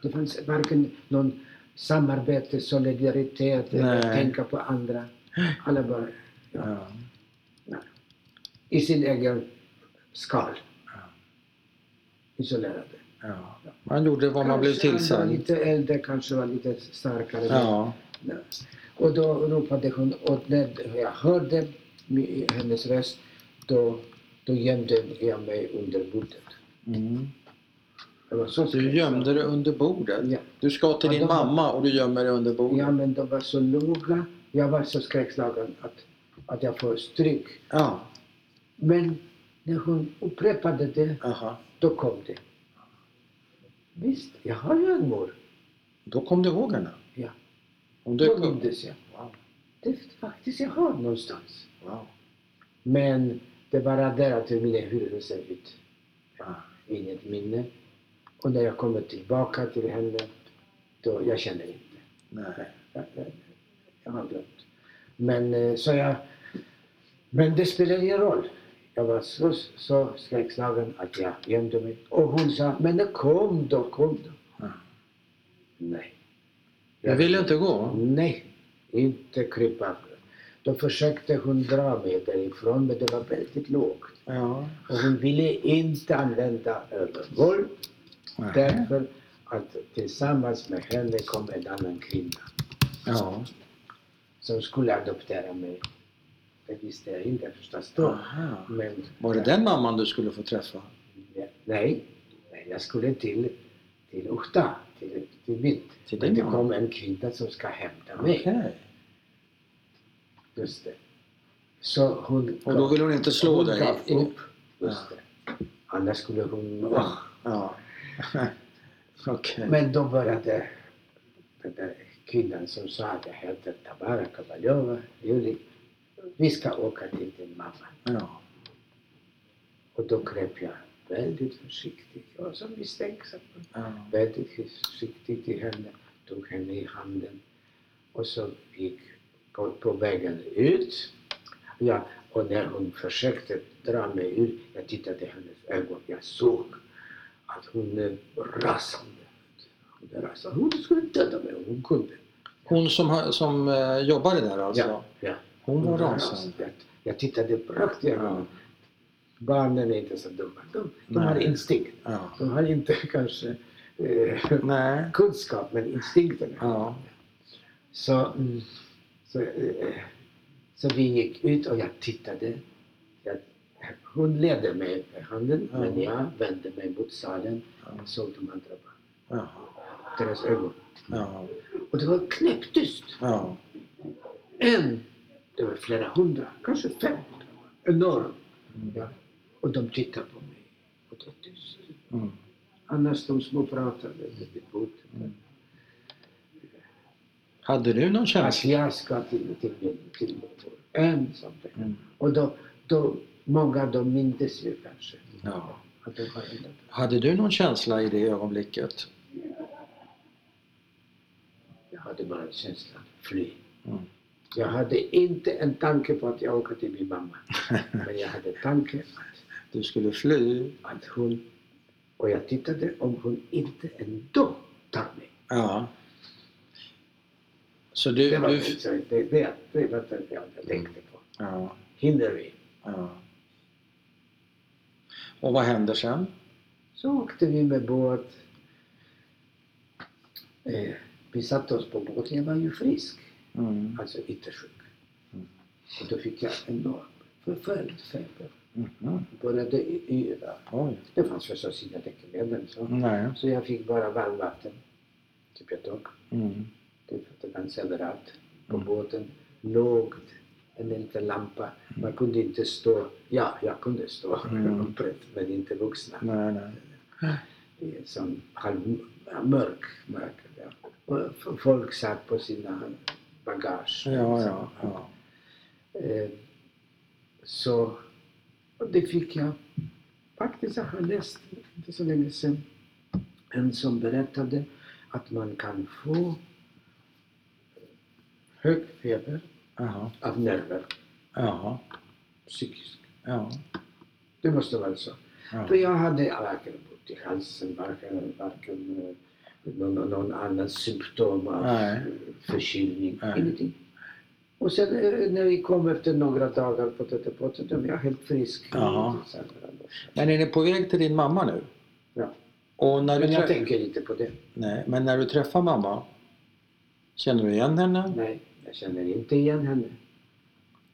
Speaker 1: Det fanns varken någon samarbete, solidaritet,
Speaker 2: Nej.
Speaker 1: eller tänka på andra. Alla bara
Speaker 2: Ja,
Speaker 1: i sin egen skal.
Speaker 2: Ja.
Speaker 1: Isolerade.
Speaker 2: ja. Man gjorde vad man blev
Speaker 1: Kanske han var
Speaker 2: tillsagd.
Speaker 1: lite äldre, kanske var lite starkare.
Speaker 2: Ja,
Speaker 1: Ja. Och då ropade hon och när jag hörde mi- hennes röst då, då gömde jag mig under bordet.
Speaker 2: mm.
Speaker 1: Jag var så
Speaker 2: Du gömde dig under bordet.
Speaker 1: Ja.
Speaker 2: Du ska till
Speaker 1: Ja,
Speaker 2: din
Speaker 1: de har-
Speaker 2: mamma och du gömmer dig under
Speaker 1: ja,
Speaker 2: bordet.
Speaker 1: men de var så låga. Jag var så skräckslagen att, att jag får stryk.
Speaker 2: Ja,
Speaker 1: Men när hon upprepade det,
Speaker 2: aha.
Speaker 1: då kom det. Visst, jag har ju en mor.
Speaker 2: Då kom du ihåg henne?
Speaker 1: Ja.
Speaker 2: Hon dök
Speaker 1: Då
Speaker 2: upp?
Speaker 1: mindes jag. Det är faktiskt jag har någonstans.
Speaker 2: Wow.
Speaker 1: Men det är bara där att jag minns hur det ser ut. Inget minne. Och när jag kommer tillbaka till henne, då jag känner inte.
Speaker 2: Nej.
Speaker 1: Jag, jag, jag har glömt. Men eh, så jag... Men det spelar ingen roll. Jag var så, så skräckslagen att jag gömde mig. Och hon sa, men då kom då, kom då.
Speaker 2: Ja.
Speaker 1: Nej.
Speaker 2: Jag ville inte gå.
Speaker 1: Nej, inte krypa. Då försökte hon dra mig därifrån, men det var väldigt lågt.
Speaker 2: Ja.
Speaker 1: Och hon ville inte använda övervåld därför att tillsammans med henne kom en annan kvinna
Speaker 2: Ja.
Speaker 1: som skulle adoptera mig. Det visste jag inte förstås då.
Speaker 2: Aha.
Speaker 1: Men,
Speaker 2: Var det den mamman du skulle få träffa?
Speaker 1: Nej, nej, jag skulle till, till Uhta, till, till mitt.
Speaker 2: Till
Speaker 1: Men
Speaker 2: din
Speaker 1: det
Speaker 2: mamma?
Speaker 1: kom en kvinna som ska hämta mig.
Speaker 2: Okej.
Speaker 1: Just det. Så hon
Speaker 2: Och då vill hon inte slå
Speaker 1: hon
Speaker 2: dig?
Speaker 1: gav
Speaker 2: i-
Speaker 1: upp. Just det. Annars skulle hon...
Speaker 2: Ja. ja. Okej.
Speaker 1: Men då började den där kvinnan som sa att jag hette Tamara Kavaljova, Juli, vi ska åka till din mamma.
Speaker 2: Ja.
Speaker 1: Och då kröp jag väldigt försiktigt, jag var så misstänksam,
Speaker 2: Ja.
Speaker 1: väldigt försiktigt till henne, tog henne i handen och så gick på, på vägen ut. Ja, och när hon försökte dra mig ut, jag tittade i hennes ögon, jag såg att hon eh, rasande. Hon rasande. Hon skulle döda mig om hon kunde.
Speaker 2: Hon som, har- som eh, jobbade där alltså?
Speaker 1: Ja, ja.
Speaker 2: Hon var rasande?
Speaker 1: rasande. Jag tittade rakt igenom. Barnen är inte så dumma. De, de
Speaker 2: Nej.
Speaker 1: har instinkt.
Speaker 2: Ja.
Speaker 1: De har inte kanske eh,
Speaker 2: Nej.
Speaker 1: kunskap, men instinkten.
Speaker 2: Ja.
Speaker 1: Så, mm, så, eh, så vi gick ut och jag tittade. Jag, hon ledde mig med handen,
Speaker 2: Ja.
Speaker 1: men jag vände mig mot salen
Speaker 2: Ja.
Speaker 1: och såg de andra barnen.
Speaker 2: Ja.
Speaker 1: Deras ögon.
Speaker 2: Ja.
Speaker 1: Och det var knäpptyst.
Speaker 2: ja.
Speaker 1: En, det var flera hundra, kanske 500. Enorm. Ja. Och de tittade på mig. Och det var tyst.
Speaker 2: Mm.
Speaker 1: Annars de små pratade lite på hotet.
Speaker 2: Hade du någon
Speaker 1: Att
Speaker 2: känsla?
Speaker 1: jag ska till, till, till, till ensam.
Speaker 2: Mm.
Speaker 1: Och då, då, många de mindes ju kanske.
Speaker 2: Ja.
Speaker 1: Att det var illa.
Speaker 2: Hade du någon känsla i det ögonblicket?
Speaker 1: jag hade bara känslan, fly.
Speaker 2: Mm.
Speaker 1: Jag hade inte en tanke på att jag åker till min mamma. Men jag hade tanke att
Speaker 2: Du skulle fly?
Speaker 1: att hon... Och jag tittade om hon inte ändå tar mig.
Speaker 2: Ja. Så
Speaker 1: Det
Speaker 2: du...
Speaker 1: var
Speaker 2: du
Speaker 1: så det, det, det var det jag tänkte på.
Speaker 2: ja,
Speaker 1: Hinner vi?
Speaker 2: ja. Och vad händer sen?
Speaker 1: Så åkte vi med båt. Eh, vi satte oss på båten. Jag var ju frisk,
Speaker 2: Mm.
Speaker 1: alltså yttersjuk.
Speaker 2: Mm.
Speaker 1: Och då fick jag enorm förföljd feber.
Speaker 2: Mhm.
Speaker 1: Började y- yra.
Speaker 2: Oj.
Speaker 1: Det fanns förstås inga läkemedel. Så.
Speaker 2: Nej.
Speaker 1: så jag fick bara varmvatten. Typ jag tog.
Speaker 2: Mm.
Speaker 1: Det fanns överallt på
Speaker 2: Mm.
Speaker 1: båten. Lågt, en liten lampa. Man kunde inte stå. Ja, jag kunde stå
Speaker 2: Mm.
Speaker 1: upprätt, men inte vuxna.
Speaker 2: Nej, nej.
Speaker 1: Det är Som halvmörk. Mörk, ja. Och f- folk satt på sina bagage.
Speaker 2: Ja, ja. ja.
Speaker 1: Eh, Så och det fick jag. Faktiskt jag har läst inte så länge sedan en som berättade att man kan få hög feber
Speaker 2: Jaha.
Speaker 1: av nerver,
Speaker 2: Jaha.
Speaker 1: psykisk.
Speaker 2: Ja.
Speaker 1: Det måste vara så.
Speaker 2: Ja.
Speaker 1: För jag hade varken ont i halsen, varken, varken eh, någon, någon annan symptom av
Speaker 2: Nej.
Speaker 1: eh, förkylning,
Speaker 2: Nej.
Speaker 1: ingenting. Och sen eh, när vi kom efter några dagar på Tötterpottet, då var jag helt frisk.
Speaker 2: Ja.
Speaker 1: Så här var det.
Speaker 2: Men är ni på väg till din mamma nu?
Speaker 1: Ja.
Speaker 2: Och när du
Speaker 1: Men jag
Speaker 2: trä-
Speaker 1: tänker inte på det.
Speaker 2: Nej, men när du träffar mamma, känner du igen henne?
Speaker 1: Nej, jag känner inte igen henne.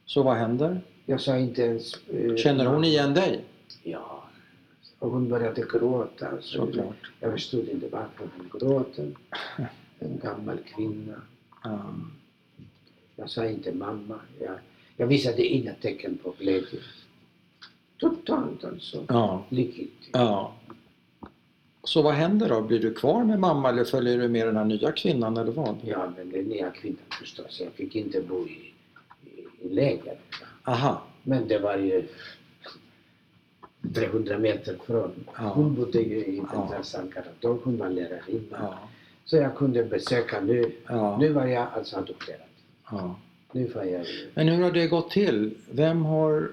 Speaker 2: Så vad händer?
Speaker 1: Jag sa inte ens... eh,
Speaker 2: Känner hon igen dig?
Speaker 1: Ja. Och hon började gråta. Så
Speaker 2: Såklart.
Speaker 1: Jag förstod inte varför hon gråt. En- En gammal kvinna.
Speaker 2: Ja.
Speaker 1: Jag sa inte mamma. Jag, jag visade inga tecken på glädje. Totalt alltså.
Speaker 2: ja.
Speaker 1: Likgiltig.
Speaker 2: Ja. Så vad händer då? Blir du kvar med mamma eller följer du med den här nya kvinnan eller vad?
Speaker 1: Ja, men den nya kvinnan förstås. Jag fick inte bo i, i, i läger.
Speaker 2: Aha.
Speaker 1: Men det var ju 300 meter från.
Speaker 2: Ja.
Speaker 1: Hon bodde ju i
Speaker 2: Ja.
Speaker 1: Petrassankaratol, hon var lärarinna.
Speaker 2: Ja.
Speaker 1: Så jag kunde besöka nu.
Speaker 2: Ja.
Speaker 1: Nu var jag alltså adopterad.
Speaker 2: ja.
Speaker 1: Nu var jag ju-
Speaker 2: Men hur har det gått till? Vem har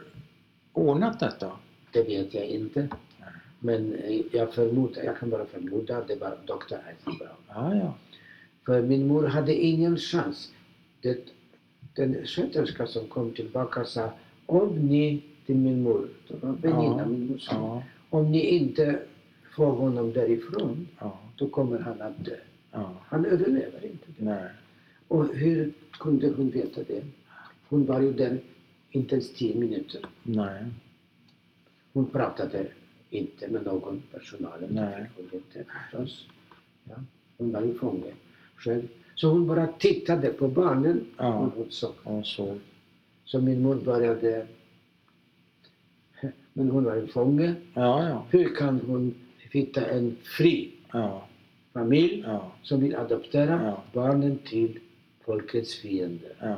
Speaker 2: ordnat detta?
Speaker 1: Det vet jag inte. Men eh, jag förmodar, jag kan bara förmoda, att det var doktor Eisenbrau.
Speaker 2: Ja, ja.
Speaker 1: För min mor hade ingen chans. Det, den sköterska som kom tillbaka sa, om ni till min mor, det var väninna,
Speaker 2: Ja.
Speaker 1: min morsa,
Speaker 2: Ja.
Speaker 1: om ni inte får honom därifrån,
Speaker 2: Ja.
Speaker 1: då kommer han att dö.
Speaker 2: ja.
Speaker 1: Han överlever inte det.
Speaker 2: Nej.
Speaker 1: Och hur kunde hon veta det? Hon var ju där inte ens tio minuter.
Speaker 2: Nej.
Speaker 1: Hon pratade inte med någon personal.
Speaker 2: Nej.
Speaker 1: Det fick Hon, inte, förstås. ja. hon var ju fånge själv. Så hon bara tittade på barnen.
Speaker 2: Ja.
Speaker 1: och Hon såg.
Speaker 2: Och så.
Speaker 1: Så min mor började... Men hon var ju fånge.
Speaker 2: Ja, ja.
Speaker 1: Hur kan hon hitta en fri
Speaker 2: Ja.
Speaker 1: familj
Speaker 2: Ja.
Speaker 1: som vill adoptera
Speaker 2: Ja.
Speaker 1: barnen till folkets fiender?
Speaker 2: Ja.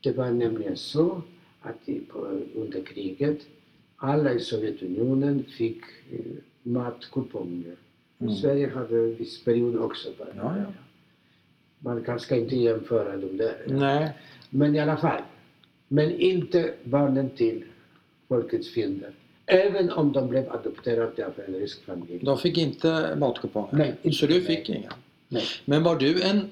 Speaker 1: Det var nämligen så att i- på, under kriget alla i Sovjetunionen fick eh, matkuponger. Och
Speaker 2: Mm.
Speaker 1: Sverige hade en viss period också. Bara.
Speaker 2: Ja, ja.
Speaker 1: Man kanske ska inte jämföra dem där.
Speaker 2: Nej.
Speaker 1: Men i alla fall. Men inte barnen till folkets fiender. Även om de blev adopterade av en rysk familj.
Speaker 2: De fick inte matkuponger?
Speaker 1: Nej, inte-
Speaker 2: Så du
Speaker 1: nej.
Speaker 2: fick inga?
Speaker 1: Nej.
Speaker 2: Men var du en...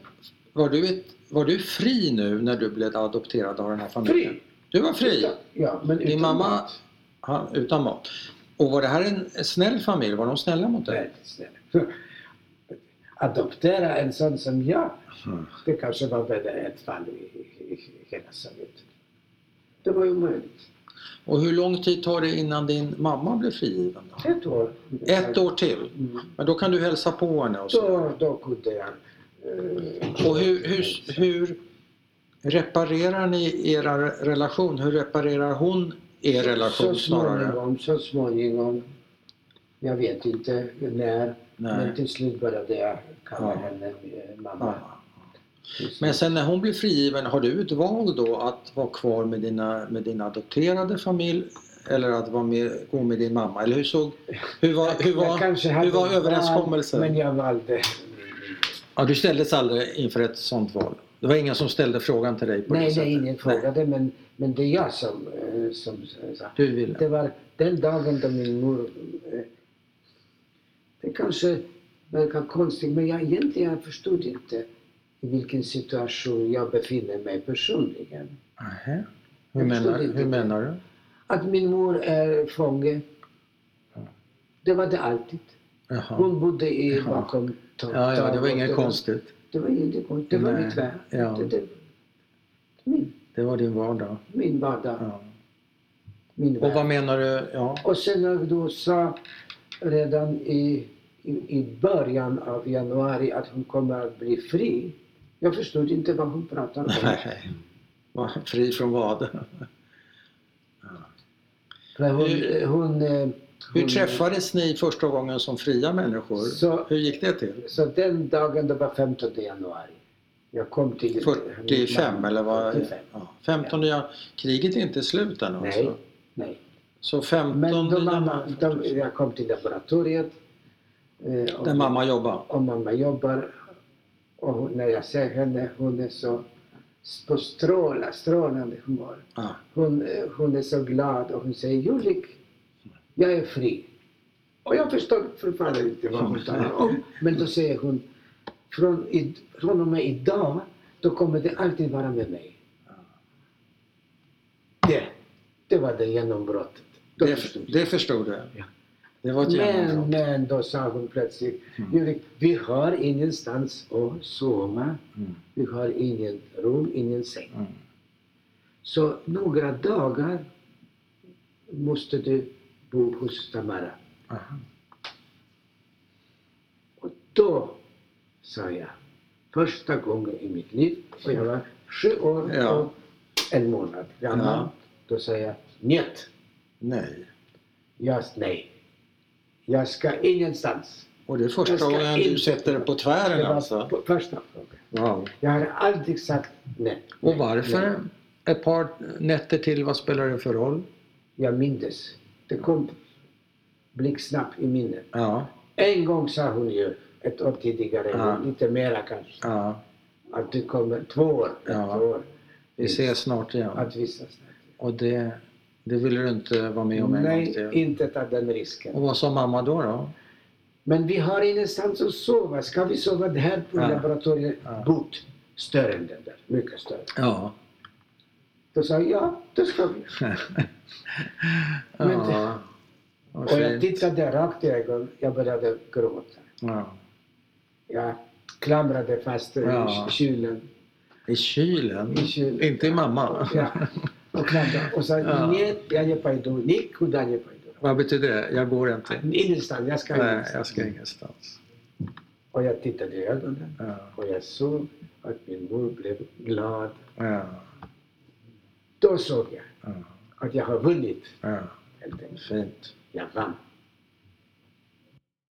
Speaker 2: Var du, ett, var du fri nu när du blev adopterad av den här familjen?
Speaker 1: Fri!
Speaker 2: Du var fri?
Speaker 1: Utan- Ja, men
Speaker 2: Din
Speaker 1: utan
Speaker 2: mamma-
Speaker 1: mat.
Speaker 2: Ja, utan mat. Och var det här en snäll familj? Var de snälla mot dig?
Speaker 1: Väldigt snäll. Adoptera en sån som jag.
Speaker 2: Mm.
Speaker 1: Det kanske var bara ett fall i, i, i hela Sovjet. Det var ju möjligt.
Speaker 2: Och hur lång tid tar det innan din mamma blev frigiven? Då?
Speaker 1: Ett år.
Speaker 2: Ett år till?
Speaker 1: Mm.
Speaker 2: Men då kan du hälsa på henne och så.
Speaker 1: Då, då kunde jag... eh,
Speaker 2: Och hur, hur, hur reparerar ni er relation? Hur reparerar hon er
Speaker 1: så
Speaker 2: relation snarare?
Speaker 1: småningom, så småningom. Jag vet inte när. Men
Speaker 2: Nej.
Speaker 1: till slut började jag kalla
Speaker 2: Ja.
Speaker 1: henne eh, mamma.
Speaker 2: Ja. Men sen när hon blir frigiven, har du ett val då att vara kvar med, dina, med din adopterade familj eller att vara med, gå med din mamma? Eller hur såg... Hur var, hur
Speaker 1: Jag kanske
Speaker 2: var,
Speaker 1: hade
Speaker 2: hur var
Speaker 1: val,
Speaker 2: överenskommelsen?
Speaker 1: Men jag valde...
Speaker 2: Ja, du ställdes aldrig inför ett sånt val? Det var ingen som ställde frågan till dig på det
Speaker 1: Nej,
Speaker 2: sättet?
Speaker 1: nej, ingen frågade. Men, men det är jag som, eh, som sa.
Speaker 2: Du ville?
Speaker 1: Det var den dagen då min mor... eh, Det kanske verkar konstigt, men jag egentligen jag förstod inte i vilken situation jag befinner mig personligen.
Speaker 2: Nähä. Hur,
Speaker 1: Jag
Speaker 2: menar,
Speaker 1: förstod inte
Speaker 2: hur
Speaker 1: det.
Speaker 2: menar du?
Speaker 1: Att min mor är fånge, det var det alltid.
Speaker 2: Jaha.
Speaker 1: Hon bodde i
Speaker 2: Ja.
Speaker 1: bakom tak-
Speaker 2: Ja, ja, det var
Speaker 1: tak-
Speaker 2: inget konstigt.
Speaker 1: Det var inget konstigt. Det var
Speaker 2: Nej,
Speaker 1: mitt värld.
Speaker 2: ja.
Speaker 1: Det, det, min,
Speaker 2: Det var din vardag.
Speaker 1: min vardag,
Speaker 2: Ja.
Speaker 1: min
Speaker 2: Och
Speaker 1: värld.
Speaker 2: vad menar du? Ja.
Speaker 1: Och sen när vi då sa redan i, i, i början av januari att hon kommer att bli fri. Jag förstod inte vad hon pratade om.
Speaker 2: Nej. Vad- Fri från vad?
Speaker 1: För hon,
Speaker 2: Hur-
Speaker 1: hon, hon, eh, hon,
Speaker 2: Hur träffades ni första gången som fria människor?
Speaker 1: Så-
Speaker 2: Hur gick det till?
Speaker 1: Så den dagen, det var 15 januari. Jag kom till...
Speaker 2: 45 eller vad?
Speaker 1: 45.
Speaker 2: Ja. 15 ja. Kriget är inte slut än
Speaker 1: Nej,
Speaker 2: alltså.
Speaker 1: nej.
Speaker 2: Så 15
Speaker 1: Men då mamma,
Speaker 2: januari-
Speaker 1: då, jag kom till laboratoriet. eh, och-
Speaker 2: Där mamma jobbar?
Speaker 1: och mamma jobbar. Och hon, när jag ser henne, hon är så på stråla, strålande humör.
Speaker 2: Ja.
Speaker 1: Hon, eh, hon är så glad och hon säger Julik, jag är fri. Och jag förstår fortfarande inte vad hon talar om. Men då säger hon, från, i, från och med idag, då kommer det alltid vara med mig. Det, det var det genombrottet. Då
Speaker 2: Det,
Speaker 1: förstod jag.
Speaker 2: det förstod du?
Speaker 1: Ja.
Speaker 2: Det var ett
Speaker 1: Men,
Speaker 2: genombrott?
Speaker 1: men då sa hon plötsligt,
Speaker 2: Mm.
Speaker 1: Julik, vi har ingenstans att sova.
Speaker 2: Mm.
Speaker 1: Vi har ingen rum, ingen säng.
Speaker 2: Mm.
Speaker 1: Så några dagar måste du bo hos Tamara.
Speaker 2: Aha.
Speaker 1: Och då sa jag, första gången i mitt liv, och jag var sju år
Speaker 2: Ja.
Speaker 1: och en månad gammal,
Speaker 2: Ja.
Speaker 1: då sa jag njet,
Speaker 2: Nej.
Speaker 1: jag, nej. Jag ska ingenstans.
Speaker 2: Och det är första
Speaker 1: Jag ska
Speaker 2: gången du
Speaker 1: inte-
Speaker 2: sätter det på tvären
Speaker 1: Det var
Speaker 2: alltså?
Speaker 1: på- första frågan.
Speaker 2: Wow.
Speaker 1: Jag har aldrig sagt nej.
Speaker 2: Och varför? ett par nätter till, vad spelar det för roll?
Speaker 1: Jag mindes. Det kom blixtsnabbt i minnet.
Speaker 2: Ja,
Speaker 1: En gång sa hon ju, ett år tidigare,
Speaker 2: Ja.
Speaker 1: lite mera kanske,
Speaker 2: ja,
Speaker 1: att du kommer två år.
Speaker 2: Ja.
Speaker 1: Två år.
Speaker 2: vi ses snart igen.
Speaker 1: Att vistas.
Speaker 2: Och det, det vill du inte vara med om en gång
Speaker 1: Nej,
Speaker 2: till.
Speaker 1: inte ta den risken.
Speaker 2: Och vad sa mamma då? då?
Speaker 1: Men vi har ingenstans att sova. Ska vi sova där på
Speaker 2: Ja.
Speaker 1: laboratoriet?
Speaker 2: Ja.
Speaker 1: Bot. Större än den där. Mycket större.
Speaker 2: Ja.
Speaker 1: Då sa jag, ja, det ska vi. Men det-
Speaker 2: ja. vad
Speaker 1: Och jag
Speaker 2: fint.
Speaker 1: tittade rakt i ögonen. Jag började gråta.
Speaker 2: Ja.
Speaker 1: Jag klamrade fast eh,
Speaker 2: Ja.
Speaker 1: i kylen.
Speaker 2: I kylen?
Speaker 1: I kylen.
Speaker 2: Inte i mamma?
Speaker 1: Ja. Och klamrade. Och sa,
Speaker 2: Ja.
Speaker 1: nej, jag hjälper inte. Ni kunde hjälpa inte.
Speaker 2: Vad betyder det? Jag går inte.
Speaker 1: Ingenstans. Jag ska
Speaker 2: Nej, jag
Speaker 1: ingenstans.
Speaker 2: ska ingenstans.
Speaker 1: Och jag tittade i ögonen.
Speaker 2: Ja.
Speaker 1: Och jag såg att min mor blev glad.
Speaker 2: Ja.
Speaker 1: Då såg jag
Speaker 2: Ja.
Speaker 1: att jag har vunnit.
Speaker 2: Ja.
Speaker 1: Helt enkelt.
Speaker 2: Fint.
Speaker 1: Jag vann.